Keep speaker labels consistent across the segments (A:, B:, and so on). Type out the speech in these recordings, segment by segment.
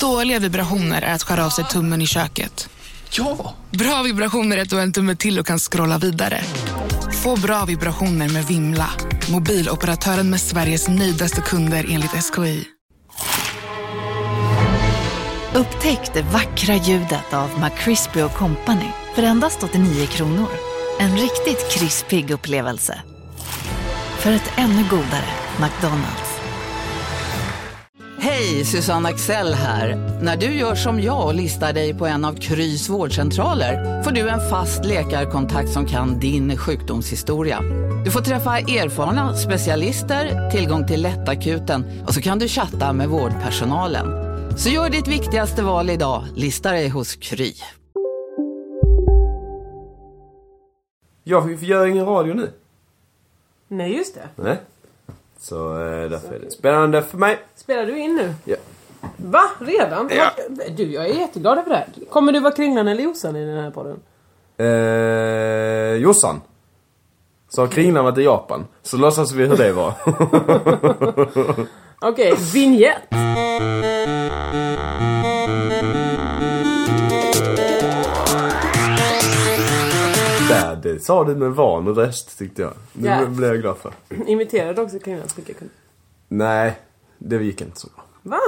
A: Dåliga vibrationer är att skära av sig tummen i köket.
B: Ja!
A: Bra vibrationer är att du har en tumme till och kan scrolla vidare. Få bra vibrationer med Vimla. Mobiloperatören med Sveriges nöjdaste kunder enligt SKI.
C: Upptäck det vackra ljudet av McCrispy Company för endast 89 kronor. En riktigt krispig upplevelse. För ett ännu godare McDonalds.
D: Hej, Susanne Axel här. När du gör som jag och listar dig på en av Krys vårdcentraler får du en fast läkarkontakt som kan din sjukdomshistoria. Du får träffa erfarna specialister, tillgång till lättakuten och så kan du chatta med vårdpersonalen. Så gör ditt viktigaste val idag, listar dig hos Kry.
B: Jag gör ingen radio nu.
E: Nej, just det.
B: Nej. Så eh, därför är det spännande för mig.
E: Spelar du in nu?
B: Ja.
E: Va? Redan?
B: Ja.
E: Du, jag är jätteglad över det här. Kommer du vara Kringlan eller Jossan i den här podden?
B: Eh, Jossan. Sa Kringlan var till Japan. Så låtsas vi hur det var.
E: Okej, vignett.
B: Där, det sa du med van röst tyckte jag. Det
E: Ja.
B: blev jag glad för.
E: Imiterade också Kringlan så mycket jag kunde.
B: Nej, det gick inte så bra.
E: Va?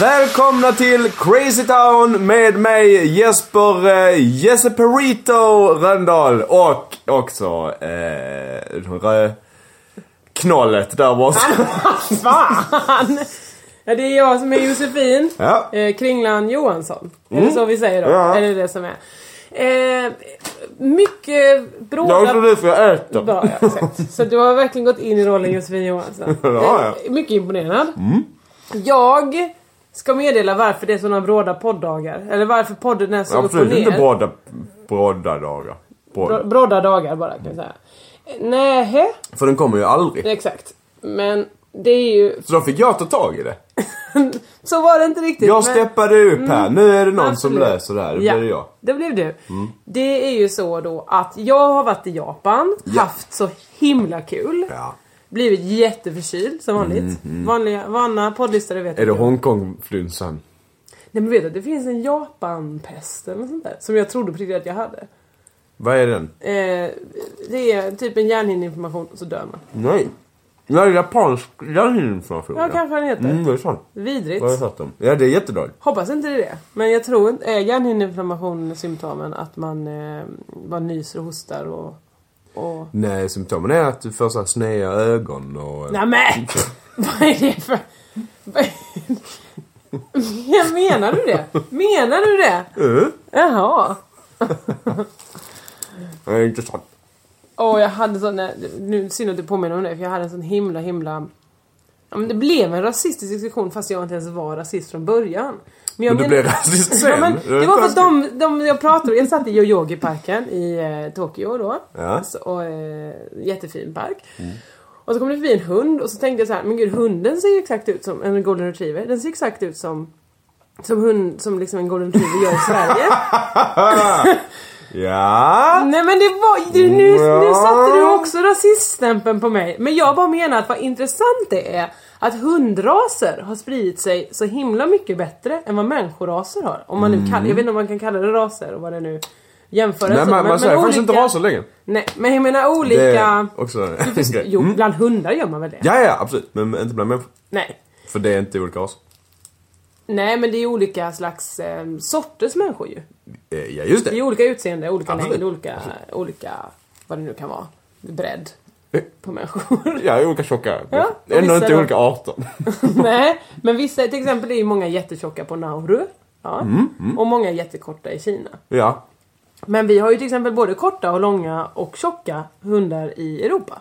B: Välkomna till Crazy Town med mig Jesper eh, Jesperito Rönndahl och också eh, rö, knollet där borta.
E: Fan! Ja, det är jag som är Josefin.
B: Ja. Mm.
E: Eh, Kringlan Johansson. Är det så vi säger då?
B: Ja.
E: Är det det som är? Eh, mycket
B: Jag tror
E: bråda...
B: du för jag äter.
E: Bra, ja, exakt. Så du har verkligen gått in i rollen Josefin Johansson.
B: Ja, ja. Mm.
E: Eh, Mycket imponerad. Jag ska meddela varför det är såna bråda poddagar. Eller varför podden är så upp och
B: Absolut
E: ner.
B: inte bråda, bråda dagar.
E: Bra-
B: Bråda.
E: Bråda dagar bara kan jag säga. Nähä,
B: För den kommer ju aldrig.
E: exakt. Men det är ju...
B: Så då fick jag ta tag i det.
E: Så var det inte riktigt.
B: Jag
E: men...
B: steppade upp här. Nu är det någon som
E: Absolut.
B: löser det här. Det blir det jag. Mm.
E: det blev du. Det är ju så då att jag har varit i Japan, haft så himla kul.
B: Ja.
E: Blivit jätteförkyld som vanligt. Vanliga, vana poddlyssnare vet
B: Mm, Är det
E: ju.
B: Hongkong-flunsan?
E: Nej men vet du, det finns en Japanpest eller något sånt där. Som jag trodde på riktigt att jag hade.
B: Vad är den?
E: Eh, det är typ en hjärnhinneinflammation och så dör man.
B: Nej. Det är japansk hjärninflammation.
E: Ja, kanske den heter.
B: Mm, det är sant.
E: Vidrigt.
B: Vad har jag hört om? Ja, det är jättedåligt.
E: Hoppas inte det är det. Men jag tror inte, är hjärnhinneinflammation symptomen att man eh, bara nyser och hostar och... och...
B: Nej, symptomen är att du får så här sneda ögon och...
E: Nej men! Vad är det för... Vad är- Ja, Menar du det? Menar du det?
B: Uh,
E: Jaha.
B: det är intressant.
E: Åh, jag hade sån... nej, Nu, synd att du påminner om det, för jag hade en sån himla, himla... Ja, men det blev en rasistisk diskussion fast jag inte ens var rasist från början. jag
B: Men du blev rasist sen.
E: Ja, men det var för att de, de jag pratade med, jag satt i Yoyogi-parken i eh, Tokyo då.
B: Ja. Mm.
E: Så, och, eh, jättefin park. Och så kom det förbi en hund och så tänkte jag så här, men gud hunden ser ju exakt ut som en golden retriever. Den ser exakt ut som, som, hund, som liksom en golden retriever gör i Sverige.
B: Ja.
E: Nej men det var du, nu, nu
B: Ja.
E: satte du också rasiststämpeln på mig. Men jag bara menar att vad intressant det är att hundraser har spridit sig så himla mycket bättre än vad människoraser har. Om man nu kallar, jag vet inte om man kan kalla det raser och vad det nu jämförs
B: Mm. Nej, man, man säger faktiskt inte raser längre.
E: Nej, men jag menar
B: Det
E: olika...
B: är också Mm.
E: Du först-
B: en grej.
E: Jo, bland hundar gör man väl det?
B: Ja, ja, absolut. Men inte bland människor.
E: Nej.
B: För det är inte olika raser.
E: Nej men det är olika slags eh, sorters människor ju.
B: Eh, Ja, just
E: Det är
B: det.
E: olika utseende, olika
B: Absolut.
E: längd, olika, olika vad det nu kan vara. Bredd
B: Eh,
E: på människor.
B: Ja, olika tjocka.
E: Ja, och
B: Ändå
E: vissa
B: inte
E: då.
B: olika arter.
E: Nej, men vissa, till exempel är ju många jättetjocka på Nauru. Ja.
B: Mm,
E: Och många är jättekorta i Kina.
B: Ja.
E: Men vi har ju till exempel både korta och långa och tjocka hundar i Europa.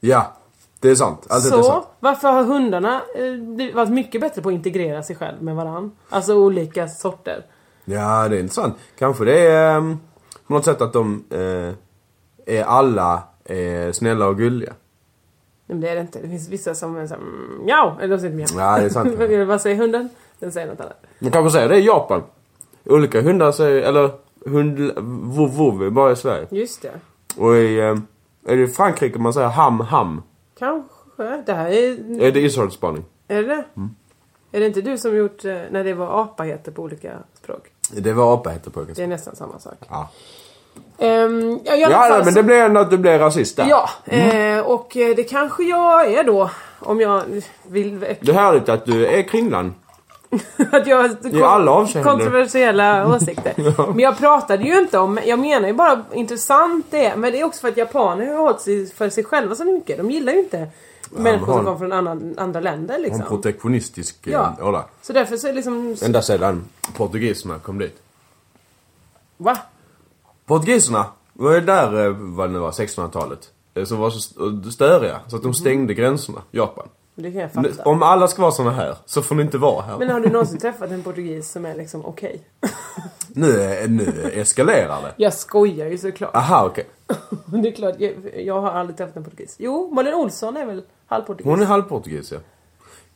B: Ja. Det är sant. Allt detta är
E: så
B: sant.
E: varför har hundarna eh, blivit- varit mycket bättre på att integrera sig själv med varann? Alltså olika sorter.
B: Ja, det är intressant. Kanske det är ehm, på något sätt att de eh, är alla eh, snälla och gulliga.
E: Nej, men det är det inte. Det finns vissa som är såhär mm, mjau, eller de säger inte mjau.
B: Ja, det är sant.
E: Vad- Vad säger hunden? Den säger något annat.
B: Man kanske säger det i Japan. Olika hundar säger, eller hund, vovvov, bara i Sverige.
E: Just det.
B: Och i, ehm, Är det i Frankrike man säger ham ham?
E: Kanske. Det här är...
B: Är det isartsspaning?
E: Är det
B: Mm.
E: Är det inte du som gjort eh, när det var apa heter på olika språk?
B: Det var apa heter pojken.
E: Det är nästan samma sak.
B: Ja,
E: Ehm, ja, i alla
B: ja
E: fall
B: nej, men
E: så-
B: det blir Mm. ändå att du blir rasist där.
E: Ja, eh, och eh, det kanske jag är då. Om jag vill väcka...
B: Det är härligt att du är kringlan.
E: Att jag
B: I alla avseenden.
E: kontroversiella åsikter. Men jag pratade ju inte om... Jag menar ju bara intressant det är. Men det är också för att japaner har hållit sig för sig själva så mycket. De gillar ju inte människor som
B: har-
E: kommer från annan, andra länder
B: En
E: liksom.
B: protektionistisk
E: Ja.
B: ja. åla.
E: Så därför så är det liksom...
B: Ända sedan portugiserna kom dit.
E: Va?
B: Portugiserna var ju där, eh, vad det nu var, 1600-talet. eh, Som var så st- störiga, så
E: Mm.
B: att de stängde gränserna, Japan.
E: Det kan jag
B: Nu,
E: fatta.
B: Om alla ska vara såna här, så får ni inte vara här.
E: Men har du någonsin träffat en portugis som är liksom okej?
B: Nu, Ah, eh, nu eskalerar det.
E: Jag skojar ju såklart.
B: Aha, okej.
E: Det är klart, jag, jag har aldrig träffat en portugis. Jo, Malin Olsson är väl halvportugis?
B: Hon är halvportugis, ja.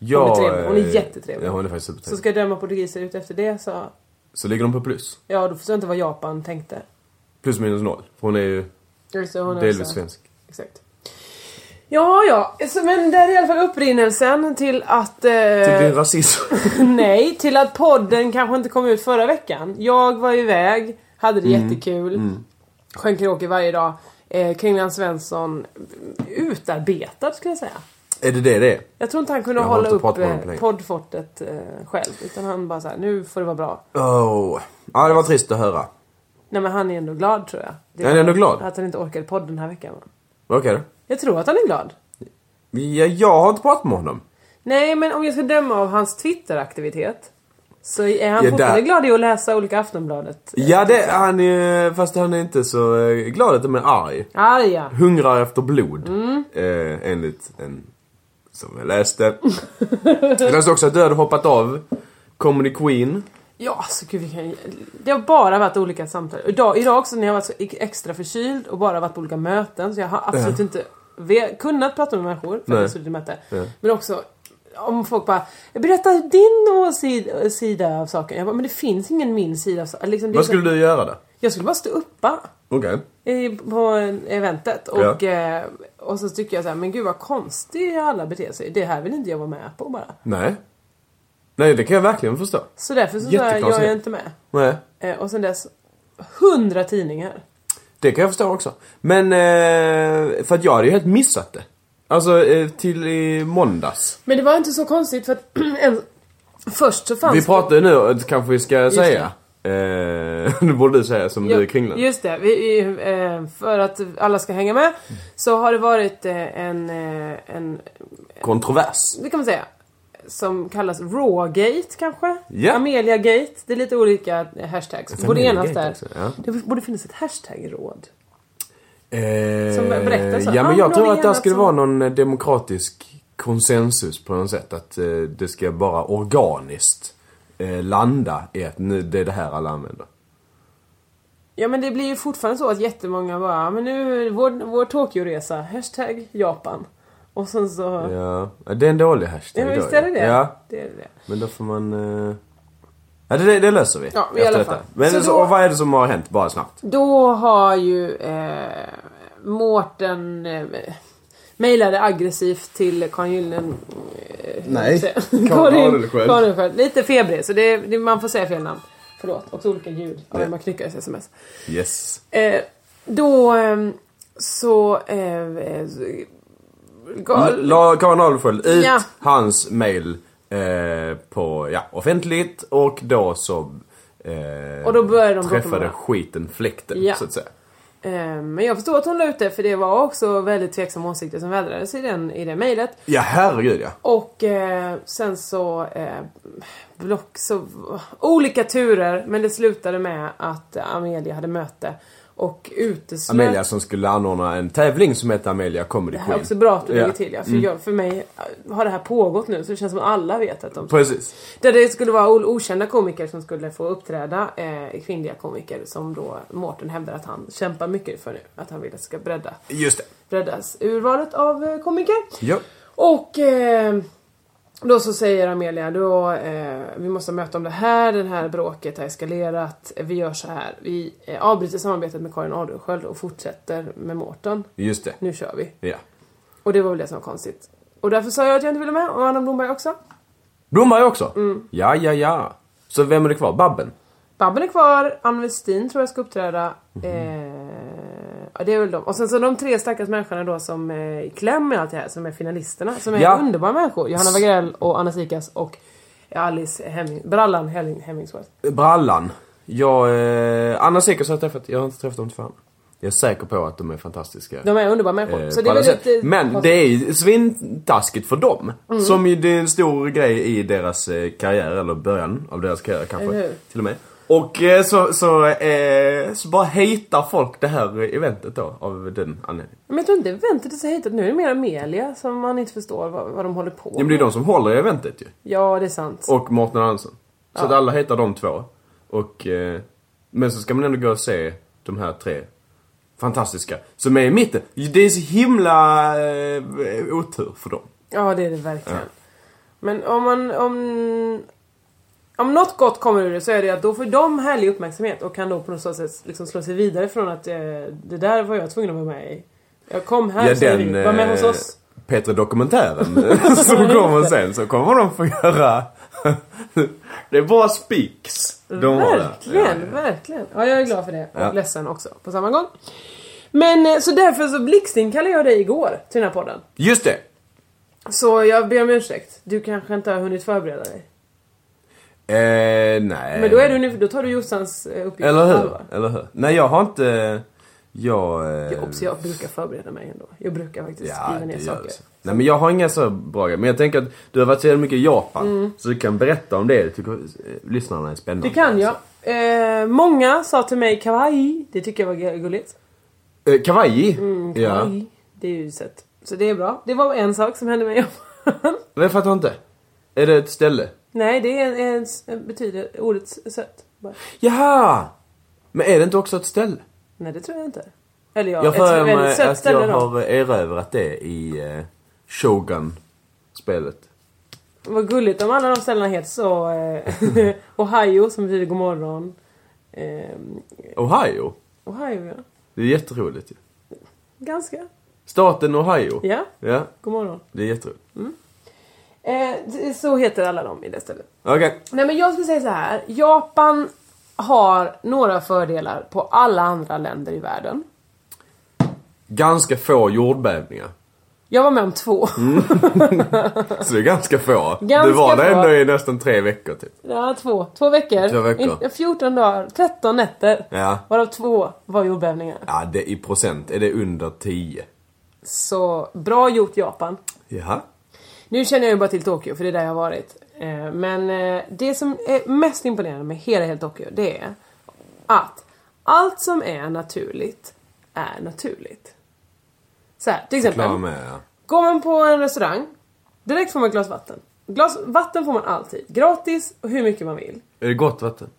E: Hon är
B: Jag,
E: trevlig. Hon är
B: eh,
E: jättetrevlig.
B: Ja, hon är faktiskt
E: Så
B: supertrevlig.
E: ska jag döma portugiser ut efter det så...
B: Så ligger de på plus.
E: Ja, då förstår jag inte vad Japan tänkte.
B: Plus minus noll. Hon är ju
E: Alltså, hon är
B: delvis
E: också-
B: svensk.
E: Exakt. Ja, ja. Så, men där är i alla fall upprinnelsen till att... Eh,
B: Tycker det är Typ rasism.
E: nej, till att podden kanske inte kom ut förra veckan. Jag var iväg, hade det
B: Mm.
E: jättekul. Sjönk karaoke varje dag. Eh, Kringland Svensson utarbetad skulle jag säga.
B: är det det det är?
E: Jag tror inte han kunde
B: Jag har
E: hålla
B: inte
E: upp
B: pratat med honom
E: eh,
B: på länge.
E: poddfortet eh, själv. Utan han bara såhär, nu får det vara bra.
B: Oh. Ja, det var trist att höra.
E: Nej men han är ändå glad tror jag. Det
B: Han är
E: var
B: ändå glad?
E: Att han inte orkade podden den här veckan. va?
B: Okej då.
E: Jag tror att han är glad.
B: Ja, jag har inte pratat med honom.
E: Nej men om jag ska döma av hans Twitteraktivitet. Så är han
B: Ja,
E: fortfarande
B: där.
E: glad i att läsa olika Aftonbladet.
B: Ja, det, han är, fast han är inte så eh, glad att men arg.
E: Arga.
B: Hungrar efter blod. Eh, enligt en som jag läste. jag läste också att Död hoppat av. Comedy Queen.
E: Ja, så gud vi kan... Det har bara varit olika samtal. Idag, idag också när jag varit så extra förkyld och bara varit på olika möten så jag har absolut inte ve- kunnat prata med människor för att
B: Nej.
E: jag har suttit i möte. Men också om folk bara Berätta din åsid- sida av saken. Jag bara, men det finns ingen min sida av saken. Liksom, det är
B: Vad
E: så-
B: skulle du göra då?
E: Jag skulle bara stå uppa.
B: Okej.
E: i- På eventet och, eh, och så tycker jag så här, men gud vad konstigt alla beter sig. Det här vill inte jag vara med på bara.
B: Nej. Nej, det kan jag verkligen förstå.
E: Så därför så, så här, jag är
B: Jättekonstigt.
E: inte med.
B: Nej.
E: Eh, och sen dess, hundra tidningar.
B: Det kan jag förstå också. Men, eh, för att jag hade ju helt missat det. Alltså, eh, till i måndags.
E: Men det var inte så konstigt för att en, först så fanns
B: Vi
E: det-
B: pratar ju nu, eh, kanske vi ska
E: Alltså- det.
B: säga. Eh, nu borde du säga som du är kringlan.
E: Just det, vi, vi, eh, för att alla ska hänga med så har det varit eh, en, eh, en,
B: Kontrovers.
E: det kan man säga, som kallas Rawgate kanske?
B: Ja.
E: Amelia Gate, det är lite olika hashtags. Det borde
B: Amelia
E: enas
B: Gate
E: där.
B: också, ja.
E: Det borde finnas ett hashtag-råd.
B: Eh,
E: Som berättar så.
B: Ja men
E: Ah,
B: jag tror
E: någon
B: att där
E: enats
B: skulle
E: om-
B: vara någon eh, demokratisk konsensus på något sätt. Att eh, det ska bara organiskt eh, landa i att nu, det är det här alla använder.
E: Ja men det blir ju fortfarande så att jättemånga bara, "Ja, men nu, vår, vår Tokyo-resa, hashtag Japan. Och sen så... Ja,
B: Ja, ja, det är en dålig hashtag.
E: men
B: då,
E: visst är det det?
B: Ja,
E: det, är det.
B: men då får man... Eh... Ja det, det, det löser vi.
E: Ja, men i
B: efter
E: alla
B: detta.
E: fall.
B: Men
E: Så
B: så
E: då-
B: och vad är det som har hänt? Bara snabbt.
E: Då har ju eh, Mårten eh, mejlade aggressivt till Karin Gyllen... Eh,
B: Nej,
E: säga-
B: Karin Adelsköld.
E: Karin Adelsköld. Lite febrig, så det, det, man får säga fel namn. Förlåt, också olika ljud av hur
B: Ja.
E: man knycker i sms.
B: Yes.
E: Eh, då eh, så... Eh, eh, så-
B: L-
E: gal,
B: Mm, La Karin Adolfsköld ut
E: Ja.
B: hans mail eh, på, ja, offentligt och då så... Eh,
E: Och då började de bråka med
B: Träffade
E: varandra.
B: skiten fläkten,
E: Ja.
B: så att säga.
E: eh, men jag förstår att hon la ut det för det var också väldigt tveksamma åsikter som vädrades i, den, i det mejlet.
B: Ja, herregud ja.
E: Och eh, sen så... Eh, block, så... Olika turer, men det slutade med att Amelia hade möte. Och uteslöt...
B: Amelia som skulle anordna en tävling som heter Amelia Comedy
E: Det
B: Queen.
E: här är också bra att du lägger
B: Ja. Mm.
E: till ja, för, jag, för mig har det här pågått nu så det känns som att alla vet att de...
B: Precis.
E: Där det skulle vara o- okända komiker som skulle få uppträda, eh, kvinnliga komiker som då Mårten hävdar att han kämpar mycket för nu. Att han vill att det ska bredda,
B: Just det.
E: breddas urvalet av eh, komiker.
B: Ja.
E: Och eh, Då så säger Amelia då, eh, vi måste möta om det här, det här bråket har eskalerat, vi gör så här. Vi eh, avbryter samarbetet med Karin Adelsköld och fortsätter med Mårten.
B: Just det.
E: Nu kör vi.
B: Ja.
E: Och det var väl det som var konstigt. Och därför sa jag att jag inte ville med, och Anna Blomberg också.
B: Blomberg också?
E: Mm.
B: Ja, ja, ja. Så vem är det kvar? Babben?
E: Babben är kvar, Ann Westin tror jag ska uppträda.
B: Mhm.
E: Eh, ja, det är väl de. Och sen så de tre stackars människorna då som eh, är i kläm med allt det här, som är finalisterna. Som är
B: Ja.
E: underbara människor. Johanna Wagrell och Anna Sikas och Alice Hemming, Brallan Hemming, Hemmingsworth.
B: Brallan. Jag, eh, Anna Seckers har jag träffat. Jag har inte träffat dem till fan. Jag är säker på att de är fantastiska.
E: De är underbara människor.
B: Eh,
E: så det
B: på
E: är
B: alla
E: väl
B: sätt.
E: lite... Mm.
B: Men det är ju svintaskigt för dem. Som ju det är en stor grej i deras eh, karriär, eller början av deras karriär kanske.
E: Eller hur?
B: Till och med. Och eh, så, så, eh, så bara hatar folk det här eh, eventet då, av den anledningen.
E: Men jag tror inte väntet är så hetat. Nu är det mer Amelia som man inte förstår vad, vad de håller på
B: Ja, men det är de som håller i eventet ju.
E: Ja, det är sant.
B: Och Mårten Andersson. Så att alla hatar de två. Och, eh, men så ska man ändå gå och se de här tre fantastiska som är i mitten. Det är så himla eh, otur för dem.
E: Ja, det är det verkligen. Men om man... Om, om något gott kommer ur det så är det att då får de härlig uppmärksamhet och kan då på något sätt liksom slå sig vidare från att eh, det där var jag tvungen att vara med i. Jag kom här,
B: Ja,
E: säger
B: den,
E: vi. Var med hos
B: eh,
E: oss.
B: Petra-dokumentären som kommer sen så kommer de få göra... det är bara spiks de har där.
E: Verkligen, verkligen. Ja, jag är glad för det. Och
B: Ja.
E: ledsen också på samma gång. Men eh, så därför så blixtinkallade jag dig igår till den här podden.
B: Just det!
E: Så jag ber om ursäkt. Du kanske inte har hunnit förbereda dig.
B: Eh, nej.
E: Men då, är du, ungefär- då tar du Jossans eh, uppgift
B: Eller
E: på
B: hur?
E: allvar.
B: Eller hur? Nej, jag har inte... Jag... eh,
E: Ja, obs, jag brukar förbereda mig ändå. Jag brukar faktiskt skriva ner
B: gör
E: saker.
B: det. Nej men jag har inga så bra grejer. Men jag tänker att du har varit så jävla mycket i Japan. Så du kan berätta om det. Jag tycker eh, lyssnarna är spännande.
E: Det Mm. kan jag. Eh, många sa till mig kawaii. Det tycker jag var gu- gulligt.
B: Eh, kawaii? Ja.
E: Mm, Kawaii. Det är ju sett. Så det är bra. Det var en sak som hände mig.
B: Men jag fattar inte. Är det ett ställe?
E: Nej, det är en, en, betyder ordet s- sött. Bara.
B: Jaha! Men är det inte också ett ställe?
E: Nej, det tror jag inte. Eller ja,
B: Jag
E: ett,
B: för
E: ett,
B: mig
E: sött
B: att
E: ställe
B: jag
E: då.
B: har erövrat det i eh, Shogun-spelet.
E: Vad gulligt om alla de ställena heter så. Eh, Ohio som betyder god morgon. Eh,
B: Ohio?
E: Ohio ja.
B: Det är jätteroligt ju.
E: Ganska.
B: Staten Ohio?
E: Ja,
B: Ja,
E: god morgon.
B: det är jätteroligt.
E: Eh, d- så heter alla de i det stället.
B: Okej.
E: Nej men jag skulle säga så här. Japan har några fördelar på alla andra länder i världen.
B: Ganska få jordbävningar.
E: Jag var med om två.
B: Så det är ganska få.
E: Ganska
B: det var det
E: få.
B: ändå i nästan tre veckor typ.
E: Ja, två. Två veckor.
B: Två veckor.
E: In- 14 dagar. 13 nätter.
B: Ja.
E: Varav två var jordbävningar.
B: Ja, det, i procent är det under 10.
E: Så bra gjort Japan.
B: Jaha.
E: Nu känner jag ju bara till Tokyo för det är där jag har varit. Eh, Men eh, det som är mest imponerande med hela, hela Tokyo det är att allt som är naturligt är naturligt. Så här, till exempel.
B: Klar med ja.
E: Går man på en restaurang, direkt får man ett glas vatten. Glas, vatten får man alltid. Gratis och hur mycket man vill.
B: Är det gott vatten?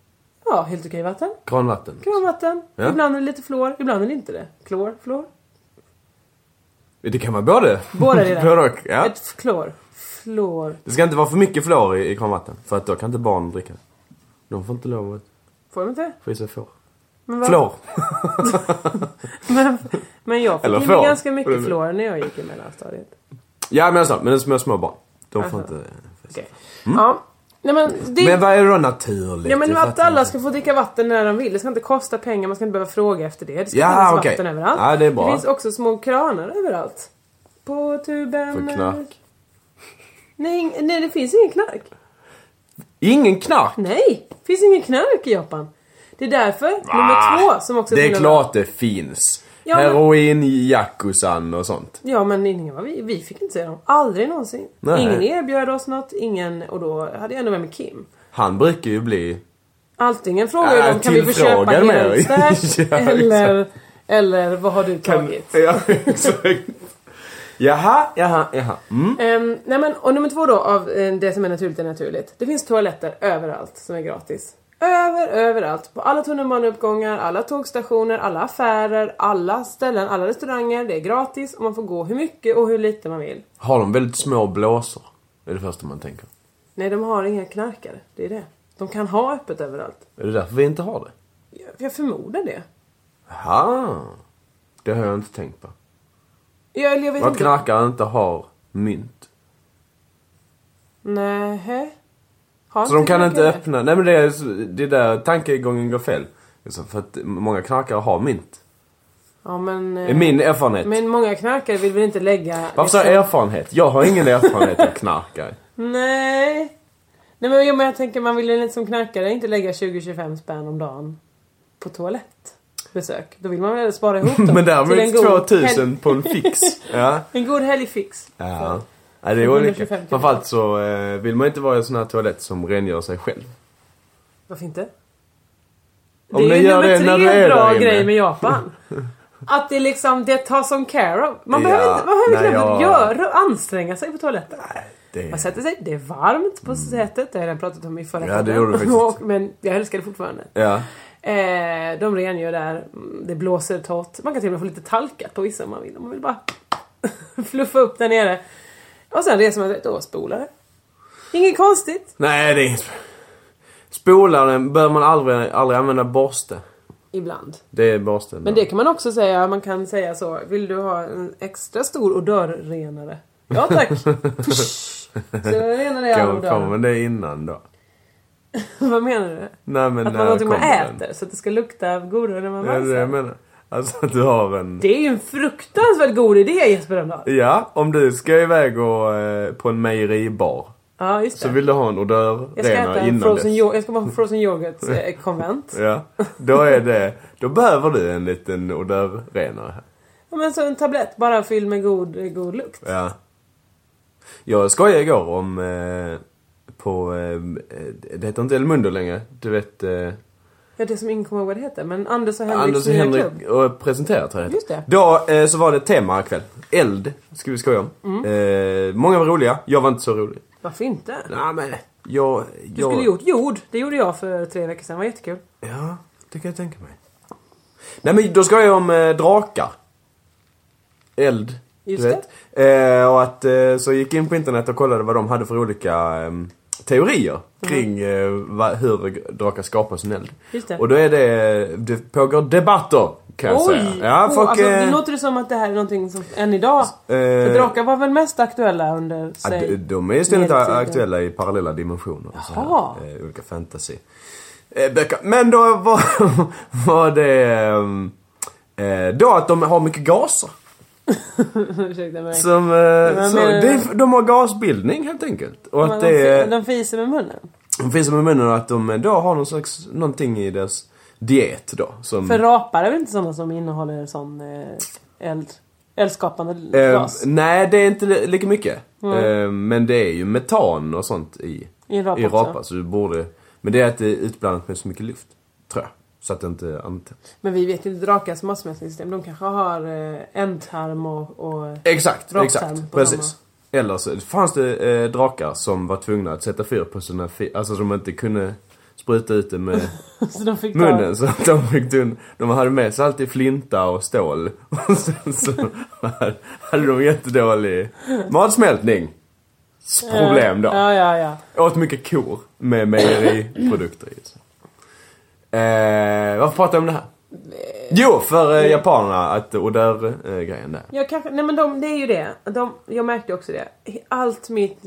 E: Ja, helt okej vatten.
B: Kranvatten?
E: Kranvatten.
B: Ja.
E: Ibland är det lite fluor, ibland är det inte det. Klor, fluor.
B: Det kan vara både.
E: Båda delar.
B: både och. Ja.
E: Ett klor. Fluor.
B: Det ska inte vara för mycket fluor i, i kranvatten. För att då kan inte barn dricka det. De får inte lov att
E: Får de inte?
B: få i sig får.
E: Men, vad-
B: Fluor.
E: men, men jag
B: Eller
E: fick in
B: fluor.
E: ganska mycket
B: Mm.
E: fluor när jag gick i mellanstadiet.
B: Ja men alltså, men det är små, små barn. De får
E: Aha.
B: inte...
E: Okej. Mm. Ja. Nej men Alltså. det...
B: Mm. Men vad är då naturligt?
E: Ja men
B: Jag
E: att
B: fattar
E: alla
B: inte.
E: ska få dricka vatten när de vill. Det ska inte kosta pengar, man ska inte behöva fråga efter det. Det ska
B: Ja,
E: finnas
B: okej.
E: vatten överallt.
B: Ja, det är bra.
E: finns också små kranar överallt. På tuben.
B: För knark.
E: Nej, ing- nej det finns ingen knark.
B: Ingen knark!
E: Nej, det finns ingen knark i Japan. Det är därför nummer två som
B: Ah,
E: också
B: Det är
E: tillhör-
B: klart det finns.
E: Ja, men-
B: Heroin, yakuzan och sånt.
E: Ja men ingen var vi, vi fick inte se dem. Aldrig någonsin.
B: Nej.
E: Ingen erbjöd oss något, ingen, och då hade jag ändå med mig Kim.
B: Han brukar ju bli...
E: Alltingen frågar ju
B: Äh,
E: de kan vi få köpa
B: tillfrågad med dig."
E: helstash
B: Ja,
E: eller, eller vad har du tagit?
B: Ja, exakt. Jaha, jaha, jaha. Mm.
E: Ehm, nej men, och nummer två då av eh, det som är naturligt är naturligt. Det finns toaletter överallt som är gratis. Över, överallt. På alla tunnelbaneuppgångar, alla tågstationer, alla affärer, alla ställen, alla restauranger. Det är gratis och man får gå hur mycket och hur lite man vill.
B: Har de väldigt små blåsor? Det är det första man tänker.
E: Nej, de har inga knarkare. Det är det. De kan ha öppet överallt.
B: Är det därför vi inte har det?
E: Jag, jag förmodar det.
B: Jaha. Det har jag inte tänkt på.
E: Jag, eller jag vet
B: Att
E: inte.
B: knarkare inte har mynt.
E: Nähä.
B: Så de kan inte öppna... Nej men det är, det är där tankegången går fel. Alltså, för att många knarkare har mynt.
E: Ja, men...
B: Det är
E: eh,
B: min erfarenhet.
E: Men många knarkare vill väl inte lägga... liksom-
B: Varför sa jag erfarenhet? Jag har ingen erfarenhet av knarkare.
E: Nej. Nej men, jag- men jag tänker man vill ju lite som knarkare inte lägga 20-25 spänn om dagen på toalettbesök. Då vill man väl spara ihop dem
B: Men
E: till en
B: däremot
E: god
B: 2000
E: helg-
B: på en fix. Ja.
E: En god helgfix.
B: Ja. Nej, det är olika.
E: 125.
B: Framförallt så eh, vill man inte vara i en sån här toalett som rengör sig själv.
E: Varför inte?
B: Om
E: det är
B: ni
E: ju
B: gör
E: nummer
B: det
E: tre
B: när du är där
E: bra
B: inne.
E: grej med Japan. Att det liksom, det tas som care of. Man
B: Ja,
E: behöver inte, man behöver
B: nej,
E: knappt
B: jag-
E: göra, anstränga sig på toaletten.
B: Det
E: Man
B: är...
E: sätter sig, det är varmt på sätet. Det har jag redan pratat om i förra
B: Ja, det gjorde du faktiskt.
E: Och- Men jag älskar det fortfarande.
B: Ja.
E: Eh, de rengör där, mm, det blåser torrt. Man kan till och med få lite talkat på vissa om man vill. Om man vill bara fluffa upp där nere. Och sen reser man sig och spolar det. Inget konstigt.
B: Nej, det är inget... Spolaren bör man aldrig, aldrig använda borste.
E: Ibland.
B: Det är borsten.
E: Men det kan man också säga, man kan säga så. Vill du ha en extra stor odörrenare? Ja tack! Push. Så jag renar dig all
B: kan
E: odör.
B: Kommer det innan då?
E: Vad menar du?
B: Nej men
E: Att man
B: när
E: har någonting man
B: kommer den?
E: äter så att det ska lukta godare när man
B: Ja, det är det jag
E: bajsar.
B: menar. Alltså att du har en...
E: Det är ju en fruktansvärt god idé Jesper Rönndahl.
B: Ja, om du ska iväg och, eh, på en mejeribar.
E: Ja just
B: Så
E: det.
B: vill du ha en
E: Jag ska äta
B: odörrenare
E: en
B: innan
E: frozen
B: dess.
E: yoghurt, jag ska bara på frozen yoghurt eh, konvent.
B: Ja, då är det... Då behöver du en liten odörrenare här.
E: Ja, men så en tablett bara fylld med god, eh, god lukt.
B: Ja. Jag skojade igår om... Eh, på... Eh, det heter inte El Mundo längre. Du vet... Eh,
E: Ja, det som ingen kommer ihåg vad det heter. Men Anders och Henriks
B: Anders och
E: nya
B: Henrik
E: klubb.
B: och presenterat tror jag
E: Just det.
B: Då eh, så var det ett tema ikväll. Eld, skulle vi skoja om.
E: Mm.
B: Eh, många var roliga, jag var inte så rolig.
E: Varför inte?
B: Nej men, jag... jag
E: Mm. Du skulle gjort jord. Det gjorde jag för tre veckor sedan. Det var jättekul.
B: Ja, det kan jag tänka mig. Nej men då ska jag om eh, drakar. Eld.
E: Just
B: du vet. Det. Eh, och att, eh, så gick jag in på internet och kollade vad de hade för olika ehm, teorier kring eh, va, hur drakar skapar sin eld.
E: Mm. Just det.
B: Och då är det, det pågår debatter kan jag säga.
E: Oj!
B: Ja, folk,
E: oh, alltså,
B: eh,
E: det låter ju som att det här är någonting som än idag. för
B: eh,
E: drakar var väl mest aktuella under
B: Ja,
E: säg,
B: de- de är ju ständigt
E: medeltiden.
B: aktuella i parallella dimensioner. och så här,
E: Jaha.
B: eh, olika fantasy. Eh, böcker. Men då var, var det... ehm, Eh, då att de har mycket gaser.
E: Ursäkta mig.
B: Som, eh,
E: men-
B: så, det, de har gasbildning helt enkelt. Och att
E: Men
B: det
E: de, fi-
B: är, Mm.
E: de fiser med munnen.
B: de finns med munnen och att de eh, då har någon slags, någonting i deras diet då. Som,
E: För rapar är väl inte sådana som innehåller sån eh, eld, eldskapande
B: eh,
E: gas?
B: nej, det är inte li- lika mycket. Eh, men det är ju metan och sånt i,
E: Mm. I en rapa
B: i
E: också.
B: rapa. Så du borde, men det är att det är utblandat med så mycket luft. Tror jag. Så att det inte antänds.
E: Men vi vet ju inte drakars massmätningssystem. De kanske har eh, ändtarm och... och
B: Exakt,
E: Raktarm
B: exakt.
E: på
B: Precis.
E: samma.
B: Eller så fanns det eh, drakar som var tvungna att sätta fyr på sina fi- alltså som inte kunde spruta ut det med
E: så de fick ta-
B: munnen så att de fick dun- De hade med sig alltid flinta och stål. Och sen så hade de jättedålig matsmältning. Problem då.
E: Ja, ja, ja.
B: Åt mycket kor med mejeriprodukter i sig. Eh, varför pratar jag om det här? Jo, för eh, japanerna, att odör-grejen där.
E: Jag kanske, nej men de, det är ju det. De, jag märkte också det. Allt mitt,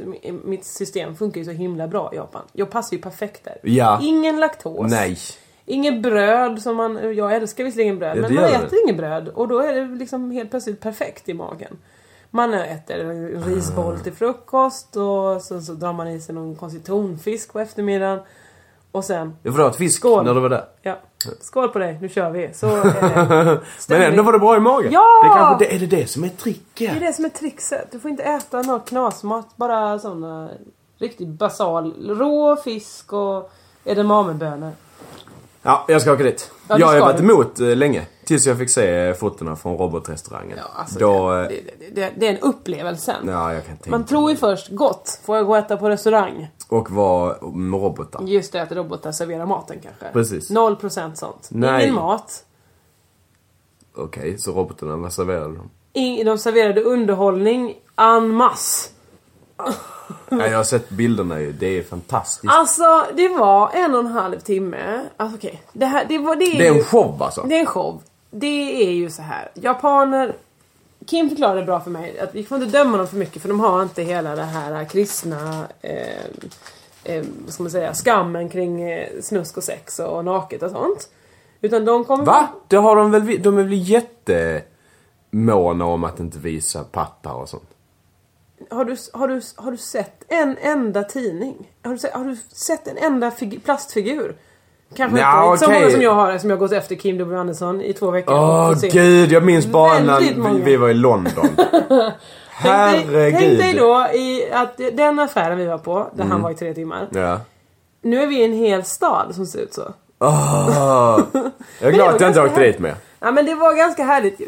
E: mitt system funkar ju så himla bra i Japan. Jag passar ju perfekt där.
B: Ja.
E: Ingen laktos.
B: Nej.
E: Inget bröd som man, jag älskar visserligen bröd
B: Ja, det
E: men man
B: gör
E: äter
B: det.
E: inget bröd och då är det liksom helt plötsligt perfekt i magen. Man äter en
B: Ah.
E: risboll till frukost och sen så drar man i sig någon konstig tonfisk på eftermiddagen. Och sen,
B: Jag får åt fisk
E: Skål.
B: när du var där.
E: ja, skål på dig, nu kör vi. Så, eh,
B: Men ändå var det bra i magen.
E: Ja!
B: Det är, kanske, det, är det det som är tricket?
E: Det är det som är trixet. Du får inte äta någon knasmat. Bara sån eh, riktigt basal. Rå fisk och edamamebönor.
B: Ja, jag ska åka dit.
E: Ja, det
B: jag har ju
E: ska
B: varit
E: du.
B: emot eh, länge. Tills jag fick se eh, fotona från robotrestaurangen.
E: Ja, alltså,
B: Då...
E: det,
B: eh,
E: det, det, det, det är en upplevelse.
B: Ja, jag kan tänka
E: Man tror ju först gott. Får jag gå och äta på restaurang?
B: Och vara med robotar.
E: Just det, att robotar serverar maten kanske.
B: Precis.
E: 0% sånt.
B: Nej.
E: Ingen mat.
B: Okej, så robotarna, vad serverade de?
E: Ing- de serverade underhållning en masse.
B: Ja, jag har sett bilderna ju. Det är fantastiskt.
E: Alltså det var en och en halv timme. Alltså okej. Det, här, det, var, det, är
B: Det är
E: ju-
B: en show alltså.
E: Det är en show. Det är ju så här. Japaner... Kim förklarade bra för mig att vi får inte döma dem för mycket för de har inte hela det här kristna... Eh, eh, vad ska man säga? Skammen kring eh, snusk och sex och naket och sånt. Utan de kommer...
B: Va? Det har de väl... vi- De är väl jättemåna om att inte visa pattar och sånt.
E: Har du, har, du, har du sett en enda tidning? Har du, se- har du sett en enda figu- plastfigur? Kanske
B: Nja,
E: inte så
B: okej.
E: många som jag har som jag har gått efter Kim W Andersson i två veckor.
B: Åh
E: Och se-
B: gud, jag minns bara när
E: Väldigt
B: vi,
E: många.
B: vi var i London.
E: Tänk dig, tänk dig
B: Herregud. Mm.
E: då i att den affären vi var på, där han var i tre timmar.
B: Ja.
E: Nu är vi i en hel stad som ser ut så.
B: Åh. Jag är
E: det
B: glad
E: var
B: att jag inte
E: ganska
B: åkte dit med.
E: Ja men det var ganska härligt.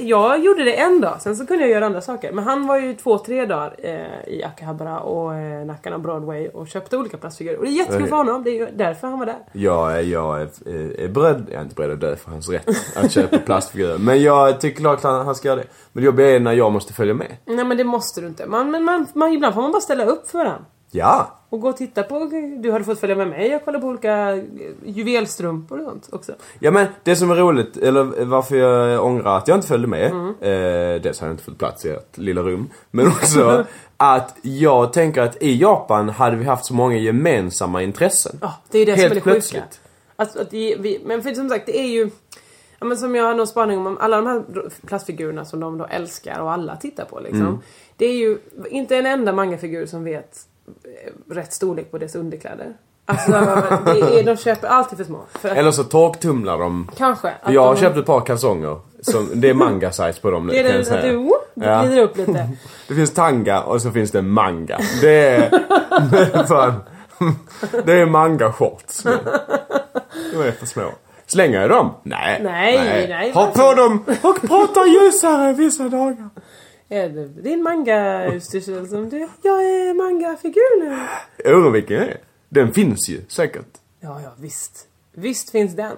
E: Jag gjorde det en dag, sen så kunde jag göra andra saker. Men han var ju två, tre dagar eh, i Akihabara och eh, Nakano Broadway och köpte olika plastfigurer. Och det är jättekul
B: Okej.
E: för honom, det är ju därför han var där.
B: Jag, är- jag är, är, är beredd, jag är inte beredd att dö för hans rätt att köpa plastfigurer. Men jag tycker klart att han ska göra det. Men det jobbiga är när jag måste följa med.
E: Nej men det måste du inte. Man, men man, man, ibland får man bara ställa upp för varandra.
B: Ja!
E: Och gå och titta på, du hade fått följa med mig och kolla på olika eh, juvelstrumpor och sånt också.
B: Ja men det som är roligt, eller varför jag ångrar att jag inte följde med.
E: Mm.
B: Eh, dels har jag inte fått plats i ett lilla rum. Men också att jag tänker att i Japan hade vi haft så många gemensamma intressen.
E: Ja, det är ju det
B: Helt
E: som är det sjuka.
B: plötsligt.
E: Alltså, att vi, vi, men för som sagt, det är ju... Ja, men som jag har någon spaning om, om, alla de här plastfigurerna som de då älskar och alla tittar på liksom.
B: Mm.
E: Det är ju inte en enda mangafigur som vet eh, rätt storlek på dess underkläder. Alltså, det är, de köper alltid för små. För att,
B: Eller så torktumlar de.
E: kanske. Att
B: Jag har
E: de,
B: köpt ett par kalsonger. Som, det är manga size på dem nu
E: Det är
B: kan
E: det
B: jag
E: att du,
B: säga.
E: oh, du
B: Ja.
E: glider upp lite.
B: Det finns tanga och så finns det manga. Det är... det är fan, det är manga-shorts. nu. De är för små. Slänger jag dem? Nej.
E: Nej, nej,
B: ha på
E: varför?
B: dem och prata ljusare vissa dagar.
E: Är det Eh, din manga-utstyrsel som du, jag är mangafigur nu.
B: Jag undrar vilken det är. Den finns ju säkert.
E: Ja, ja, visst. Visst finns den.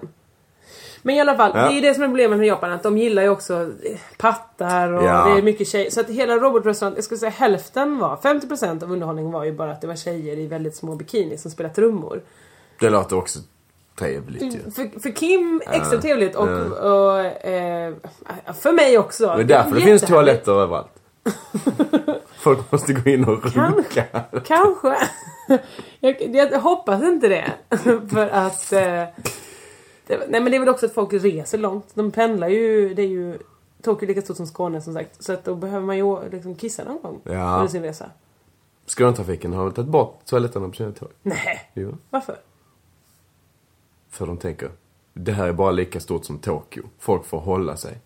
E: Men i alla fall,
B: Ja.
E: det är ju det som är problemet med Japan, att de gillar ju också eh, pattar och
B: Ja.
E: det är mycket tjejer. Så att hela robotrestaurant, jag skulle säga hälften var, 50% av underhållningen var ju bara att det var tjejer i väldigt små bikinis som spelade trummor.
B: Det låter också trevligt ju.
E: För, för Kim, extra trevligt och, och, eh, för mig också.
B: Det är därför det finns
E: Jättehärligt.
B: toaletter överallt. Folk måste gå in och runka.
E: Kanske. Kanske. Jag, jag hoppas inte det. För att... Eh, det, nej men det är väl också att folk reser långt. De pendlar ju. Det är ju Tokyo är lika stort som Skåne som sagt. Så att då behöver man ju å- liksom kissa någon gång
B: Ja.
E: under sin resa.
B: Skånetrafiken har väl tagit bort toaletterna på sina tåg?
E: Nej.
B: Jo.
E: Varför?
B: För de tänker, det här är bara lika stort som Tokyo. Folk får hålla sig.